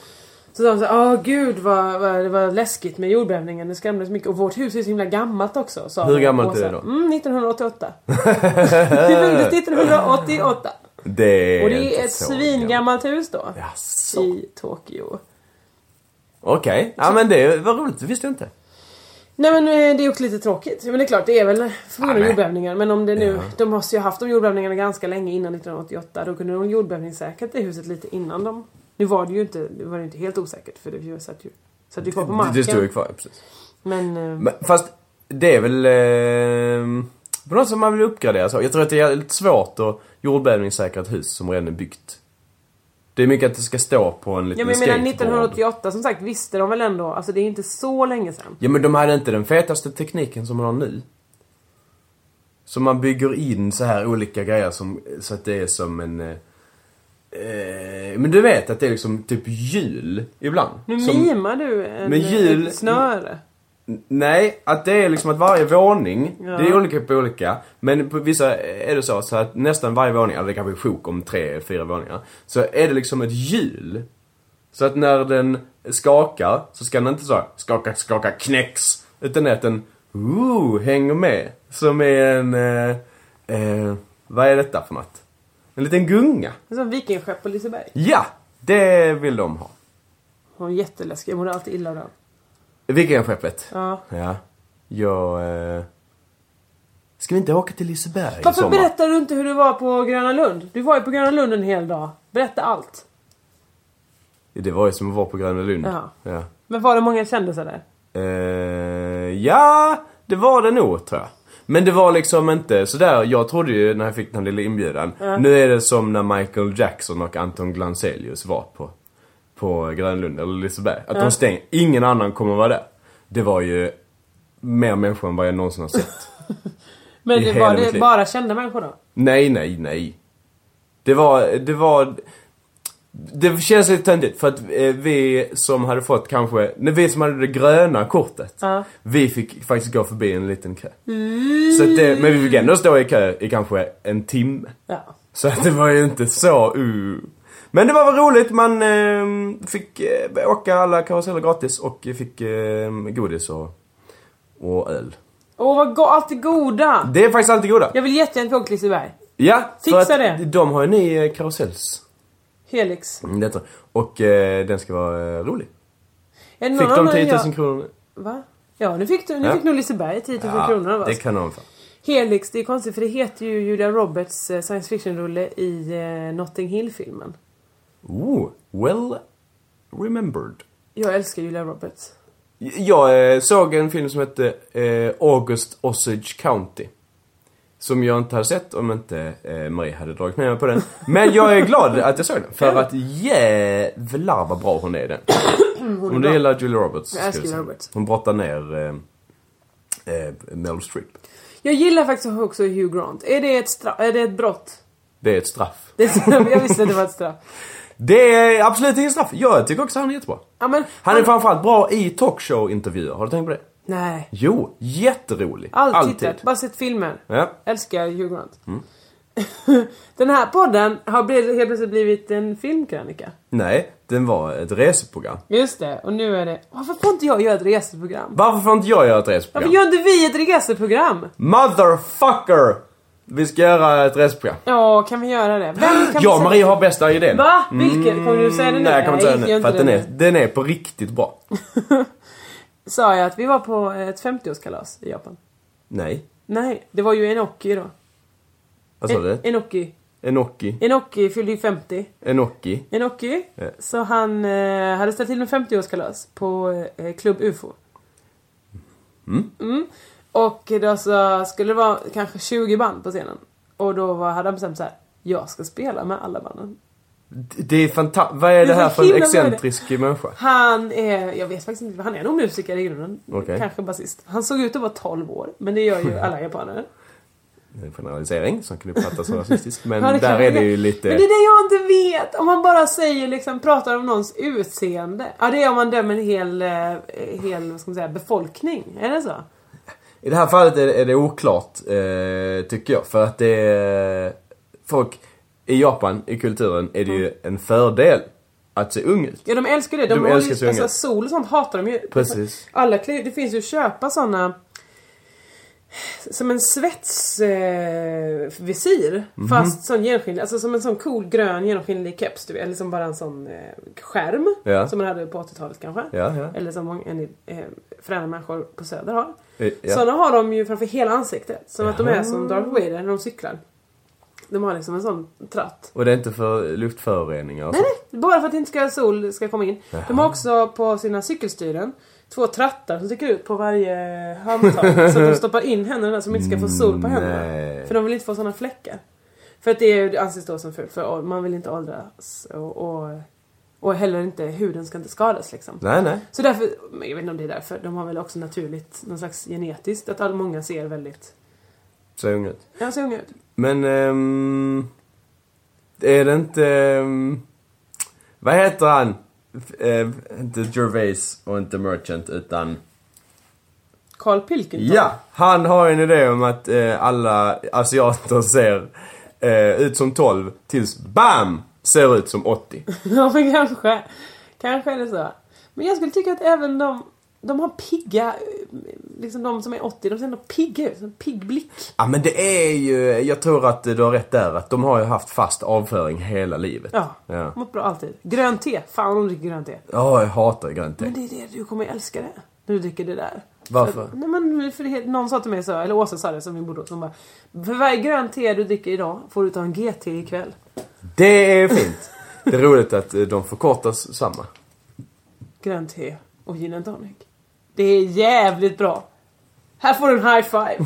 E: Så sa de såhär, åh gud vad, vad, det var läskigt med jordbävningen, det skrämde så mycket. Och vårt hus är så himla gammalt också. Sa
B: Hur
E: de.
B: gammalt
E: Och
B: är det
E: så,
B: då?
E: Mm, 1988. det byggdes 1988.
B: Det är
E: Och det
B: inte
E: är ett
B: så
E: svingammalt hus då.
B: Jaså.
E: I Tokyo.
B: Okej, ja men det var roligt, det visste jag inte.
E: Nej men eh, det är också lite tråkigt. Men det är klart, det är väl förmodligen
B: men-
E: jordbävningar. Men om det nu,
B: Ja.
E: de måste ju ha haft de jordbävningarna ganska länge innan 1988. Då kunde de jordbävningssäkrat det huset lite innan de... Nu var det ju inte, det var ju inte helt osäkert för det satt ju, satt ju kvar på marken.
B: Det, det stod ju kvar, ja, precis.
E: Men... eh,
B: Men, fast det är väl... Eh, på något sätt man vill uppgradera så. Jag tror att det är lite svårt att jordbävningssäkra ett hus som redan är byggt. Det är mycket att det ska stå på en
E: ja
B: liten
E: men jag menar
B: skateboard.
E: 1988 som sagt visste de väl ändå, alltså det är inte så länge sedan.
B: Ja men de hade inte den fetaste tekniken som man har nu. Så man bygger in så här olika grejer som, så att det är som en... eh, Eh, men du vet att det är liksom typ jul ibland.
E: Nu
B: som,
E: mimar du en,
B: Men jul-
E: ett snöre.
B: N- Nej, att det är liksom att varje våning,
E: Ja.
B: det är olika på olika. Men på vissa är det så, så att nästan varje våning, eller det kanske är sjok om tre, fyra våningar. Så är det liksom ett hjul. Så att när den skakar så ska den inte så här, skaka, skaka, knäcks. Utan att den, ooh, hänger med. Som är en, eh, eh, vad är detta för något? En liten gunga.
E: Som vikingskepp på Liseberg.
B: Ja! Det vill de ha.
E: Hon är jätteläskig, jag mår alltid illa av den.
B: Vikingaskeppet.
E: Ja.
B: Ja. Jag... Eh... Ska vi inte åka till Liseberg i
E: Varför
B: sommar?
E: berättar du inte hur det var på Gröna Lund? Du var ju på Gröna Lund en hel dag. Berätta allt.
B: Det var ju som att vara på Gröna Lund.
E: Ja.
B: Ja.
E: Men var det många kändisar där?
B: Eh, ja, det var det nog tror jag. Men det var liksom inte sådär, jag trodde ju när jag fick den här lilla inbjudan.
E: Ja.
B: Nu är det som när Michael Jackson och Anton Glanzelius var på, på Grönlund eller Liseberg. Att
E: Ja.
B: de stänger, ingen annan kommer vara där. Det var ju mer människor än vad jag någonsin har sett.
E: Men
B: I
E: det
B: hela
E: var
B: mitt
E: det
B: liv.
E: bara kända människor då?
B: Nej, nej, nej. Det var, det var... Det känns lite töntigt för att eh, vi som hade fått kanske, nej vi som hade det gröna kortet.
E: Ja. Mm.
B: Vi fick faktiskt gå förbi en liten kö. Så att det, men vi fick ändå stå i kö i kanske en timme.
E: Ja.
B: Så att det var ju inte så, uh. Men det var väl roligt, man eh, fick eh, åka alla karuseller gratis och fick eh, godis och, och öl.
E: Åh vad go- allt det goda!
B: Det är faktiskt alltid goda.
E: Jag vill jättegärna åka till Liseberg.
B: Ja,
E: Fixa
B: för att
E: det.
B: de har ju en ny eh, karusells.
E: Helix.
B: Mm, detta. Och eh, den ska vara eh, rolig.
E: Är det någon
B: Fick de
E: annan
B: 10 000
E: jag-
B: kronor?
E: Va? Ja, nu fick, du, nu
B: Ja.
E: fick nog Liseberg 10 000
B: Ja,
E: kronor av oss.
B: det kan de fan.
E: Helix, det är konstigt för det heter ju Julia Roberts eh, science fiction-rulle i eh, Notting Hill-filmen.
B: Oh, well remembered.
E: Jag älskar Julia Roberts.
B: J- Jag eh, såg en film som hette eh, August Osage County. Som jag inte hade sett om inte eh, Marie hade dragit med mig på den. Men jag är glad att jag såg den. För att jävlar vad bra hon är i den.
E: Hon
B: Om du
E: bra.
B: gillar Julia Roberts.
E: Jag
B: ska
E: älskar
B: vi säga.
E: Julia Roberts.
B: Hon brottar ner eh, eh, Meryl Streep.
E: Jag gillar faktiskt också Hugh Grant. Är det ett, stra- är det ett brott?
B: Det är ett straff.
E: Det är jag visste att det var ett straff.
B: Det är absolut inget straff. Jag tycker också han är jättebra.
E: Ja, men,
B: Han är framförallt bra i talkshow-intervjuer. Har du tänkt på det?
E: Nej.
B: Jo, jätterolig.
E: Alltid. tittat. Bara sett filmer.
B: Ja.
E: Älskar Hugh Grant.
B: Mm.
E: Den här podden har bl- helt plötsligt blivit en filmkrönika.
B: Nej, den var ett reseprogram.
E: Just det, och nu är det... Varför får inte jag göra ett reseprogram?
B: Varför får inte jag göra ett
E: Varför
B: reseprogram?
E: gör inte vi ett reseprogram?
B: Motherfucker! Vi ska göra ett reseprogram.
E: Ja, kan vi göra det? Vem kan
B: Jag
E: vi
B: och
E: säga-
B: Marie har bästa idén.
E: Va? Vilken? Mm. Kommer du säga det nu?
B: Nej, jag kommer inte säga den
E: gör
B: nu. För att den
E: det
B: är, den är på riktigt bra.
E: Sa jag att vi var på ett 50-årskalas i Japan?
B: Nej.
E: Nej, det var ju Enoki då. E-
B: Vad sa du?
E: Enoki.
B: Enoki.
E: Enoki fyllde ju 50.
B: Enoki.
E: Enoki.
B: Ja.
E: Så han eh, hade ställt till en 50-årskalas på eh, Klubb UFO.
B: Mm.
E: Mm. Och då så skulle det vara kanske 20 band på scenen. Och då var, hade han bestämt så här. jag ska spela med alla banden.
B: D- Det är fantastiskt. Vad är
E: Det
B: det
E: är
B: här
E: så
B: för en
E: himla bra idé.
B: excentrisk människa?
E: Han är, jag vet faktiskt inte, han är nog musiker i grunden.
B: Okej.
E: Kanske basist. Han såg ut att vara 12 år, men det gör ju alla japaner.
B: En Eh, generalisering som kan uppfattas som rasistisk. Men
E: Ja, det
B: där
E: kan-
B: är det ju lite...
E: Men det är det jag inte vet! Om man bara säger liksom, pratar om någons utseende. Ja det är om man dömer en hel, eh, hel vad ska man säga, befolkning. Är det så?
B: I det här fallet är, är det oklart, eh, tycker jag. För att det är... Folk... I Japan, i kulturen, är det ju en fördel att se ung ut.
E: Ja de älskar det. De,
B: De
E: håller
B: älskar
E: ju,
B: sig unga.
E: alltså, sol och sånt hatar de ju.
B: Precis.
E: Alla klä- det finns ju att köpa såna som en svetsvisir eh, visir,
B: Mhm.
E: fast sån genomskinlig, alltså som en sån cool grön genomskinlig keps du vet, eller som bara en sån eh, skärm
B: Ja.
E: som man hade på 80-talet kanske.
B: Ja, ja.
E: Eller som många en, eh, fräna människor på söder har.
B: Eh, ja.
E: Såna har de ju framför hela ansiktet. Som att de är
B: Jaha.
E: som Darth Vader när de cyklar. De har liksom en sån tratt.
B: Och det är inte för luftföroreningar och
E: Nej,
B: sånt.
E: nej. Bara för att inte ska sol ska komma in.
B: Alltså- Jaha.
E: De har också på sina cykelstyren två trattar som sticker ut på varje handtag. så att de stoppar in händerna där så de inte ska få sol på händerna.
B: Nej.
E: För de vill inte få såna fläckar. För att det är- det anses då som fult. För man vill inte åldras. Och, och, och heller inte, huden ska inte skadas liksom.
B: Nej, nej.
E: Så därför, men jag vet inte om det är därför. De har väl också naturligt, någon slags genetiskt, att all, många ser väldigt,
B: Så ung ut.
E: ja ser unga ut.
B: Men... ehm, är det inte... ehm, vad heter han? F- eh, inte Gervais och inte Merchant utan...
E: Carl Pilkington.
B: Ja! Han har en idé om att eh, alla asiater ser eh, ut som 12 tills BAM! Ser ut som 80.
E: Ja men kanske. Kanske är det så. Men jag skulle tycka att även de, de har pigga, eh, liksom de som är 80, de ser ändå pigga ut. En pigg blick.
B: Ja men det är ju, jag tror att du har rätt där att de har ju haft fast avföring hela livet.
E: Ja.
B: Ja,
E: Mått bra alltid. Grönt te. Fan de dricker grönt te.
B: Ja, jag hatar grönt te.
E: Men det är det, du kommer älska det. När du dricker det där.
B: Varför?
E: Så, nej men för det, är- någon sa till mig så, eller Åsa sa det som vi bodde hos, hon bara För varje grönt te du dricker idag får du ta en GT ikväll.
B: Det är fint. Det är roligt att eh, de förkortas samma.
E: Grönt te och gin and tonic. Det är jävligt bra. Här får du en high five.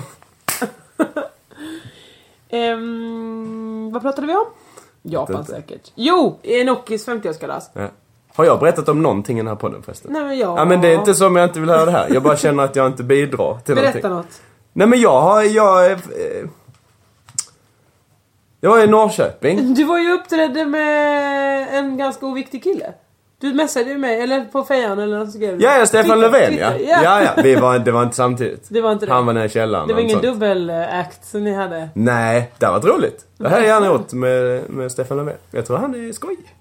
E: Ehm, vad pratade vi om? Japan
B: Inte.
E: säkert. Jo! Enokis 50-årskalas.
B: Ja. Har jag berättat om någonting i den här podden förresten?
E: Nej men ja.
B: Ja men det är inte som jag inte vill höra det här. Jag bara känner att jag inte bidrar till
E: Berätta
B: någonting.
E: något.
B: Nej men jag har, jag... eh, eh, Jag var i Norrköping.
E: Du var ju uppträdde med en ganska oviktig kille. Du messade ju mig, eller på fejan eller något skrev du.
B: Ja, ja, Stefan
E: Twitter,
B: Löfven ja.
E: Twitter,
B: Ja, ja. Vi var, det var inte samtidigt.
E: Det var inte det.
B: Han var nere i källaren
E: Det var
B: och
E: ingen
B: sånt.
E: dubbelakt som ni hade.
B: Nej, det var roligt. Det här har jag gärna gjort med, med Stefan Löfven. Jag tror han är skojig.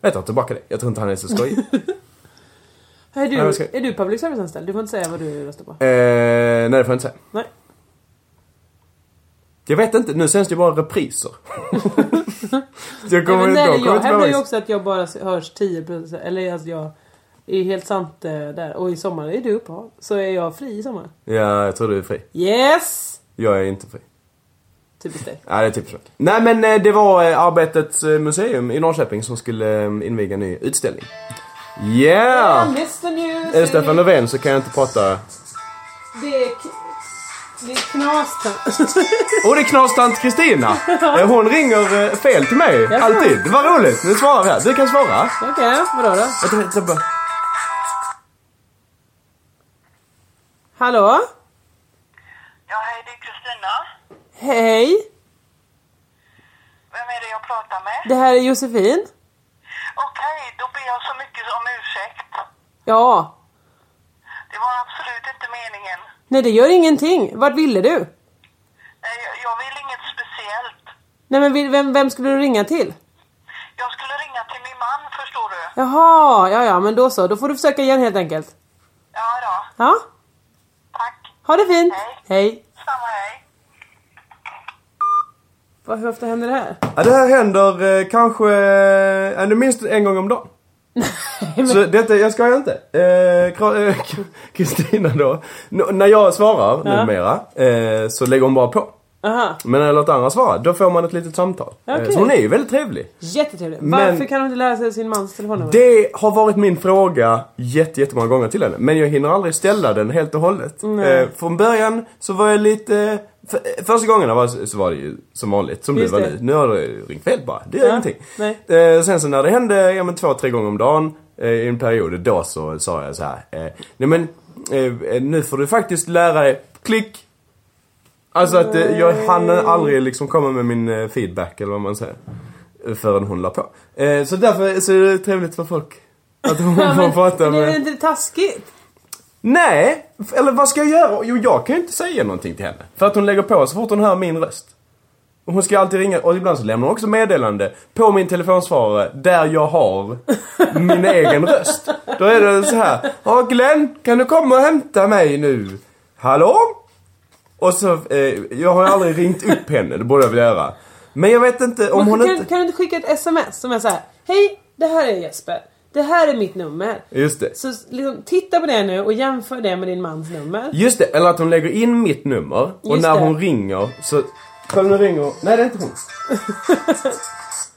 B: Jag tar tillbaka det. Jag tror inte han är så Eh, skojig.
E: Är
B: Nej,
E: du,
B: jag ska-
E: är du public service-anställd? Du får inte säga vad du röstar på.
B: Eh, nej, det får jag inte säga.
E: Nej.
B: Jag vet inte, nu sänds det ju bara repriser. Jag kommer
E: Nej,
B: inte
E: men nej,
B: ihåg.
E: jag
B: Kommer inte
E: hävdar ju
B: ihåg.
E: också att jag bara hörs 10% eller alltså jag är helt sant eh, där. Och i sommar är du uppehåll. Så är jag fri i sommar.
B: Ja, jag tror du är fri.
E: Yes!
B: Jag är inte fri.
E: Typiskt dig.
B: Nej, det är typ så. Nej men eh, det var eh, Arbetets eh, museum i Norrköping som skulle eh, inviga en ny utställning. Yeah!
E: Mr News!
B: Är det Stefan Löfven så kan jag inte prata.
E: Det är, k- det är knas
B: Och det är knastant Kristina! Eh, Hon ringer eh, fel till mig,
E: Jaså?
B: alltid. Vad roligt! Nu svarar vi här. Du kan svara.
E: Okej, vadå då?
B: Vänta, vänta, bara.
E: Hallå?
L: Ja, hej, det är Kristina.
E: Hej!
L: Vem är det jag pratar med?
E: Det här är Josefin.
L: Okej, då ber jag så mycket om ursäkt.
E: Ja.
L: Det var absolut inte meningen.
E: Nej, det gör ingenting. Vart ville du?
L: Eh, Jag, jag vill inget speciellt.
E: Nej, men vill- vem, vem skulle du ringa till?
L: Jag skulle ringa till min man, förstår du.
E: Jaha, ja ja, men då så. Då får du försöka igen helt enkelt.
L: Ja då.
E: Ja? Tack. Ha det fint. Hej.
L: Samma hej.
E: Vad Hur ofta händer det här?
B: Ja, det här händer eh, kanske eh, ändå minst en gång om dagen. Så detta, jag skojar inte. Eh, Kra- eh, K- Kristina då. N- när jag svarar
E: Ja.
B: numera eh, så lägger hon bara på.
E: Aha.
B: Men när jag låter andra svara, då får man ett litet samtal.
E: Okej.
B: Eh, så hon är ju väldigt trevlig.
E: Jättetrevligt.
B: Men-
E: Varför kan hon inte lära sig sin mans telefonnummer?
B: Det har varit min fråga jätte, jättemånga gånger till henne. Men jag hinner aldrig ställa den helt och hållet.
E: Nej.
B: Eh, från början så var jag lite... För, eh, första gångerna var, så var det ju som vanligt, som
E: Just
B: du var
E: det.
B: nu. Nu har du ringt fel bara. Det gör
E: Ja,
B: ingenting.
E: nej.
B: Eh, sen så när det hände, ja men två, tre gånger om dagen eh, i en period, då så sa jag så här. Eh, nej men, eh, nu får du faktiskt lära dig, klick! Alltså att eh, jag hann aldrig liksom komma med min eh, feedback eller vad man säger. eh, Förrän hon la på. Eh, så därför så är det trevligt för folk. Att hon
E: Ja,
B: får prata
E: men det är
B: med...
E: inte taskigt?
B: Nej! f- Eller vad ska jag göra? Jo, jag kan ju inte säga någonting till henne. För att hon lägger på så fort hon hör min röst. Och hon ska alltid ringa och ibland så lämnar hon också meddelande på min telefonsvarare där jag har min egen röst. Då är det så här. Ja Glenn, kan du komma och hämta mig nu? Hallå? Och så, eh, jag har ju aldrig ringt upp henne, det borde jag väl göra. Men jag vet inte om
E: Men
B: hon
E: kan,
B: inte...
E: kan du inte skicka ett sms som är så här. Hej, det här är Jesper. Det här är mitt nummer.
B: Just det.
E: Så liksom, titta på det nu och jämför det med din mans nummer.
B: Just det, eller att hon lägger in mitt nummer och
E: Just
B: när
E: det.
B: hon ringer så... Kolla nu ringer Nej det är inte hon.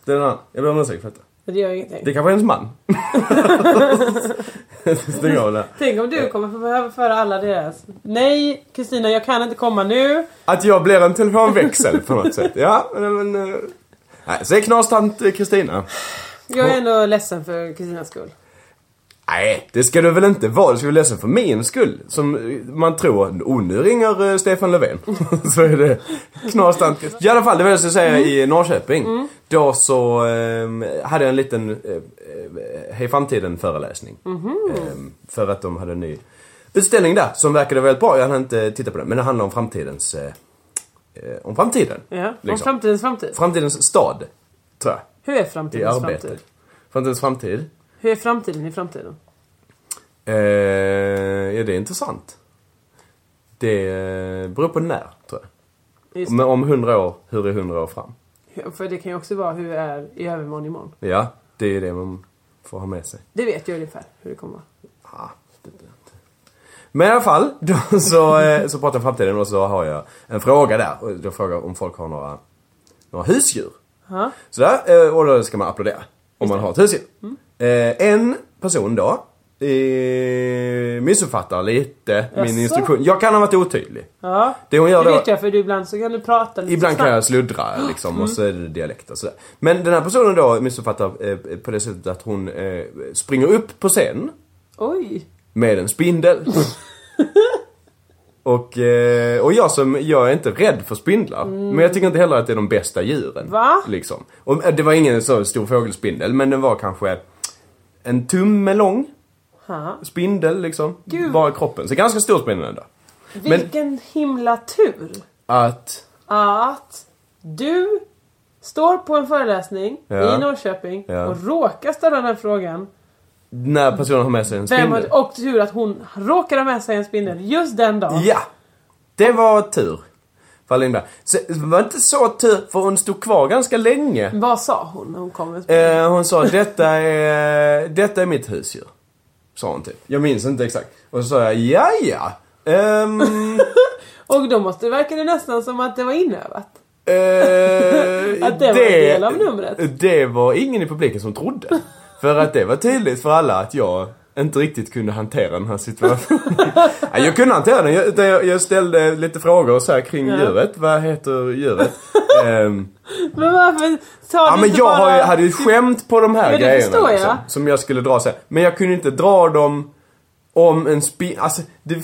B: det är någon annan. Jag ber om ursäkt för detta.
E: Men Det gör ingenting.
B: Det kanske är hennes man. Stäng av det här.
E: Tänk om du kommer få behöva föra alla deras. Nej, Kristina, jag kan inte komma nu.
B: Att jag blev en telefonväxel på något sätt. Ja, men... men eh, nej, så är knastant eh, Kristina.
E: Jag är ändå ledsen för Kristinas skull.
B: Nej, det ska du väl inte vara. Du ska väl ledsen för min skull. Som eh, man tror, oh nu ringer eh, Stefan Löfven. så är det knastant. I alla fall, det var det jag skulle säga i Norrköping.
E: Mm.
B: Då så eh, hade jag en liten eh, eh, Hej framtiden föreläsning. Ehm, för att de hade en ny utställning där som verkade väldigt bra. Jag hann inte titta på den. Men det handlar om framtidens... Eh, eh, om framtiden.
E: Ja, om
B: Liksom.
E: framtidens framtid.
B: Framtidens stad, tror jag.
E: Hur
B: I
E: är framtidens framtid?
B: arbetet. Framtidens framtid.
E: Hur är framtiden i framtiden?
B: Eh, ja, det är intressant. Det eh, beror på när, tror jag.
E: Just
B: Men om hundra år, hur är hundra år fram?
E: det. För det kan ju också vara hur det är i övermorgon imorgon.
B: Ja, det är det man får ha med sig.
E: Det vet jag ungefär hur det kommer vara.
B: Men i alla fall, då så, eh, så pratar jag om framtiden och så har jag en fråga där. Och Jag frågar om folk har några, några husdjur.
E: Ja.
B: Sådär, eh, och då ska man applådera. Om man har ett husdjur.
E: Mm.
B: Eh, en person då eh, missuppfattar lite min
E: Jaså?
B: instruktion. Jag kan ha varit otydlig.
E: Ja.
B: Det hon gör
E: det
B: då-
E: vet jag för du, ibland så kan du prata lite
B: Ibland kan
E: snabbt. Mm.
B: jag sluddra liksom och så är det dialekt och sådär. Men den här personen då missuppfattar eh, på det sättet att hon eh, springer upp på scen
E: Oj!
B: med en spindel. och, eh, och jag som, jag är inte rädd för spindlar. Men jag tycker inte heller att det är de bästa djuren.
E: Mm. Va?
B: Liksom. Och eh, det var ingen så stor fågelspindel men den var kanske en tumme lång
E: Ha.
B: spindel liksom.
E: Gud.
B: Bara i kroppen. Så ganska stor spindel ändå. Men-
E: Vilken himla tur!
B: Att,
E: Att du står på en föreläsning
B: Ja.
E: i Norrköping
B: Ja.
E: och råkar ställa den här frågan.
B: när personen har med sig en
E: Vem
B: spindel.
E: har, och tur att hon råkar ha med sig en spindel just den dagen.
B: Ja! Det var tur. Wallenberg. Så det var inte så tur, för hon stod kvar ganska länge.
E: Vad sa hon när hon kom? med-
B: Eh, hon sa detta är, detta är mitt husdjur. Sa hon typ. Jag minns inte exakt. Och så sa jag, ja ja. Ehm,
E: Och då måste, verkar det nästan som att det var inövat.
B: eh,
E: Att det var en del av numret.
B: Det var ingen i publiken som trodde. För att det var tydligt för alla att jag inte riktigt kunde hantera den här situationen. Nej, jag kunde hantera den. Jag, utan jag, jag ställde lite frågor så här kring
E: Ja.
B: djuret. Vad heter djuret? Ehm,
E: Men varför sa
B: Ja
E: du
B: men
E: inte
B: jag
E: bara...
B: har ju, hade ju ett skämt på de här
E: Men det
B: grejerna
E: förstår jag.
B: liksom, Som jag skulle dra sen. Men jag kunde inte dra dem om en spin... Alltså, det,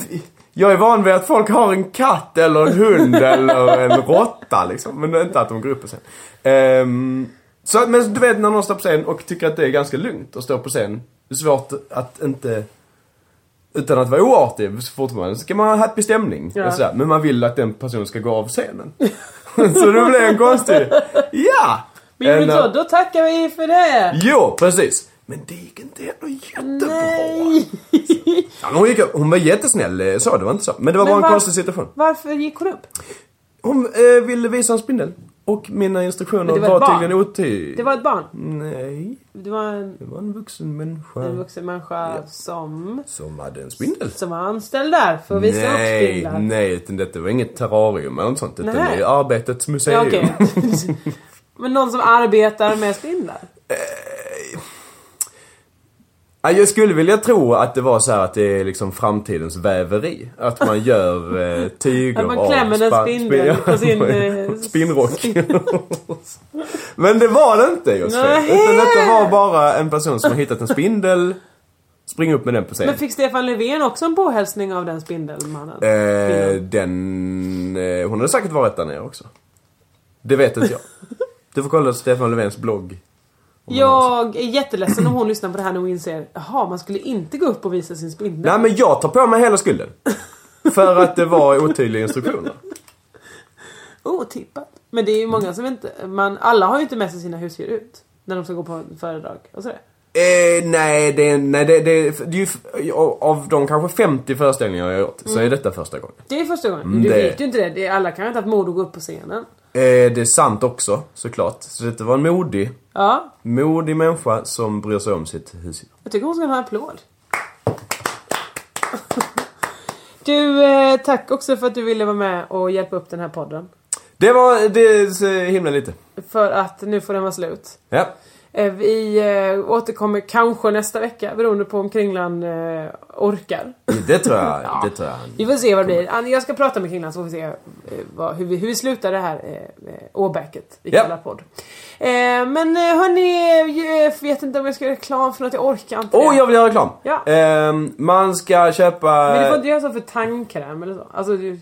B: jag är van vid att folk har en katt eller en hund eller en råtta liksom. Men inte att de går upp på scen. Ehm, så, att- men du vet när någon står på scen och tycker att det är ganska lugnt att stå på scen. Det är svårt att inte... Utan att vara oartig så fort man... Så kan man ha happy stämning.
E: Ja.
B: Och sådär. Men man vill att den personen ska gå av scenen. så det blir en konstig... Ja!
E: Men gjorde
B: En,
E: du
B: eh,
E: så, då tackar vi för det!
B: Jo, precis. Men det gick inte ändå jättebra. Ja, men hon, gick, upp- hon var jättesnäll eh, så, det var inte så. Men det var
E: Men
B: bara en
E: var-
B: konstig situation.
E: Varför gick hon upp?
B: Hon eh, ville visa en spindel. Och mina instruktioner
E: Men det
B: var,
E: var ett barn.
B: tydligen oty...
E: Det var ett barn.
B: Nej,
E: Det var en,
B: det var en vuxen människa.
E: en vuxen människa som...
B: Som hade en spindel.
E: Som var anställd där för att visa upp
B: Nej,
E: spindlar.
B: nej, utan detta var inget terrarium eller något sånt. Utan det
E: Nej.
B: är Arbetets
E: Ja,
B: museum.
E: okej. Men någon som arbetar med spindlar?
B: Eh. Ja, Jag skulle vilja tro att det var så här att det är liksom framtidens väveri. Att man gör eh, tyger
E: Att man klämmer en
B: span-
E: spindel
B: spin-
E: på sin... eh,
B: Spinnrock. Men det var det inte Josefin.
E: Nej.
B: Utan detta var bara en person som har hittat en spindel. Spring upp med den på scen.
E: Men fick Stefan Löfven också en påhälsning av den spindelmannen?
B: Eh, den... Eh, hon hade säkert varit där nere också. Det vet inte jag. Du får kolla Stefan Löfvens blogg.
E: Jag är jätteledsen om hon lyssnar på det här nu och inser jaha, man skulle inte gå upp och visa sin spindel.
B: Nej men jag tar på mig hela skulden. För att det var otydliga instruktioner.
E: Otippat. Men det är ju många som inte... Man, alla har ju inte med sig sina husdjur ut. När de ska gå på föredrag och sådär.
B: Eh, nej, det, nej det, det, det är ju, f- av de kanske 50 föreställningar jag har gjort så
E: Mm.
B: är detta första gången.
E: Det är första gången.
B: Mm,
E: du
B: det-
E: vet ju inte det. det är, alla kanske inte haft mod att gå upp på scenen.
B: Eh, det är sant också, såklart. Så detta var en modig,
E: Ja,
B: modig människa som bryr sig om sitt husdjur.
E: jag tycker hon ska ha en applåd. Du, eh, tack också för att du ville vara med och hjälpa upp den här podden.
B: Det var, det är så himla lite.
E: För att nu får den vara slut.
B: Ja.
E: Eh, Vi eh, återkommer kanske nästa vecka beroende på om Kringlan eh, orkar.
B: Det tror jag, det tror jag.
E: Vi får se vad det blir. Ann, Jag ska prata med Kringlan så får vi se eh, vad, hur, vi, hur vi slutar det här eh, eh, åbäket i
B: Ja.
E: kallar podd. Eh, men eh, hörni, jag vet inte om jag ska göra reklam för något, jag orkar inte
B: Åh,
E: det.
B: jag vill göra reklam!
E: Ja.
B: Ehm, man ska köpa...
E: Men du får inte göra så för tandkräm eller så. Alltså, du,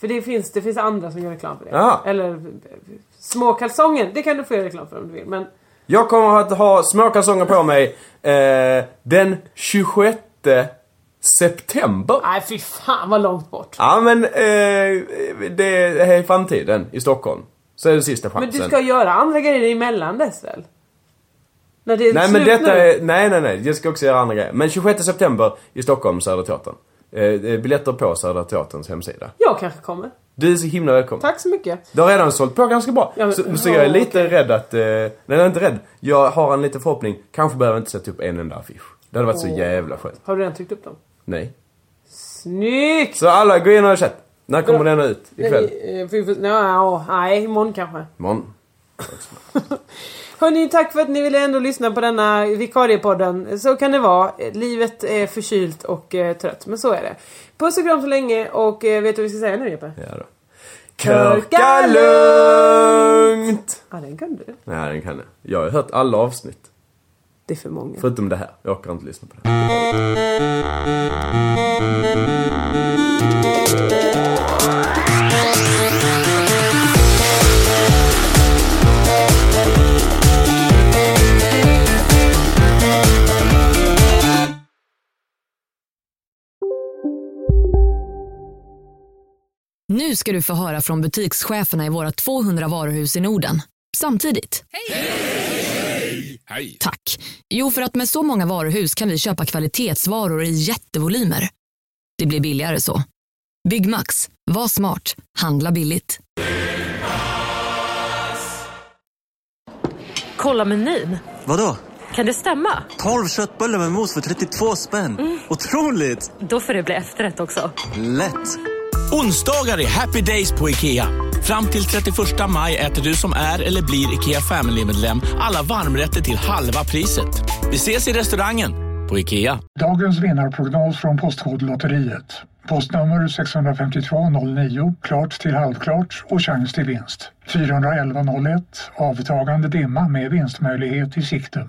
E: för det finns, det finns andra som gör reklam för det.
B: Jaha.
E: Eller eh, småkalsonger, det kan du få göra reklam för om du vill. Men
B: Jag kommer att ha småkalsonger på mig eh, den 26 september.
E: nej fy fan vad långt bort.
B: Ja men eh, det är i framtiden i Stockholm. Så är det sista chansen.
E: Men du ska göra andra grejer emellan dess väl? När det är
B: Nej men
E: slut
B: detta
E: nu.
B: är, nej nej nej, jag ska också göra andra grejer. Men 26 september i Stockholm, Södra Teatern. Eh, eh, biljetter på Södra Teaterns hemsida.
E: Jag kanske kommer.
B: Du är så himla välkommen.
E: Tack så mycket.
B: Du har redan sålt på ganska bra.
E: Ja, men-
B: så, så jag är
E: ja,
B: lite rädd att, eh, nej jag är inte rädd. Jag har en liten förhoppning, kanske behöver jag inte sätta upp en enda affisch. Det hade varit så
E: Åh.
B: jävla skönt.
E: Har du redan tryckt upp dem?
B: Nej.
E: Snyggt!
B: Så alla, gå in och köp. När kommer den ut? Ikväll?
E: Nej, eh, vi får- nja, nej, imorgon kanske.
B: Imorgon.
E: Hörni, tack för att ni ville ändå lyssna på denna vikariepodden. Så kan det vara. Livet är förkylt och eh, trött, men så är det. Puss och kram så länge och eh, vet du vad vi ska säga nu Jeppe?
B: Ja då. Körka lugnt!
E: Ja, den kunde du.
B: Nej, den kan jag. Jag har hört alla avsnitt.
E: Det är för många.
B: Förutom det här. Jag orkar inte lyssna på det.
M: Nu ska du få höra från butikscheferna i våra 200 varuhus i Norden. Samtidigt.
N: Hej!
M: Tack. Jo, för att med så många varuhus kan vi köpa kvalitetsvaror i jättevolymer. Det blir billigare så. Byggmax.
D: Var smart. Handla billigt.
E: Kolla menyn.
O: Vadå?
E: Kan det stämma? Mm.
O: 12 köttbullar med mos för 32 spänn. Otroligt!
E: Då får det bli efterrätt också.
O: Lätt!
P: Onsdagar är happy days på IKEA. Fram till 31 maj äter du som är eller blir IKEA Family-medlem alla varmrätter till halva priset. Vi ses i restaurangen på IKEA.
G: Dagens vinnarprognos från Postkodlotteriet. Postnummer 65209, klart till halvklart och chans till vinst. 41101, avtagande dimma med vinstmöjlighet i sikte.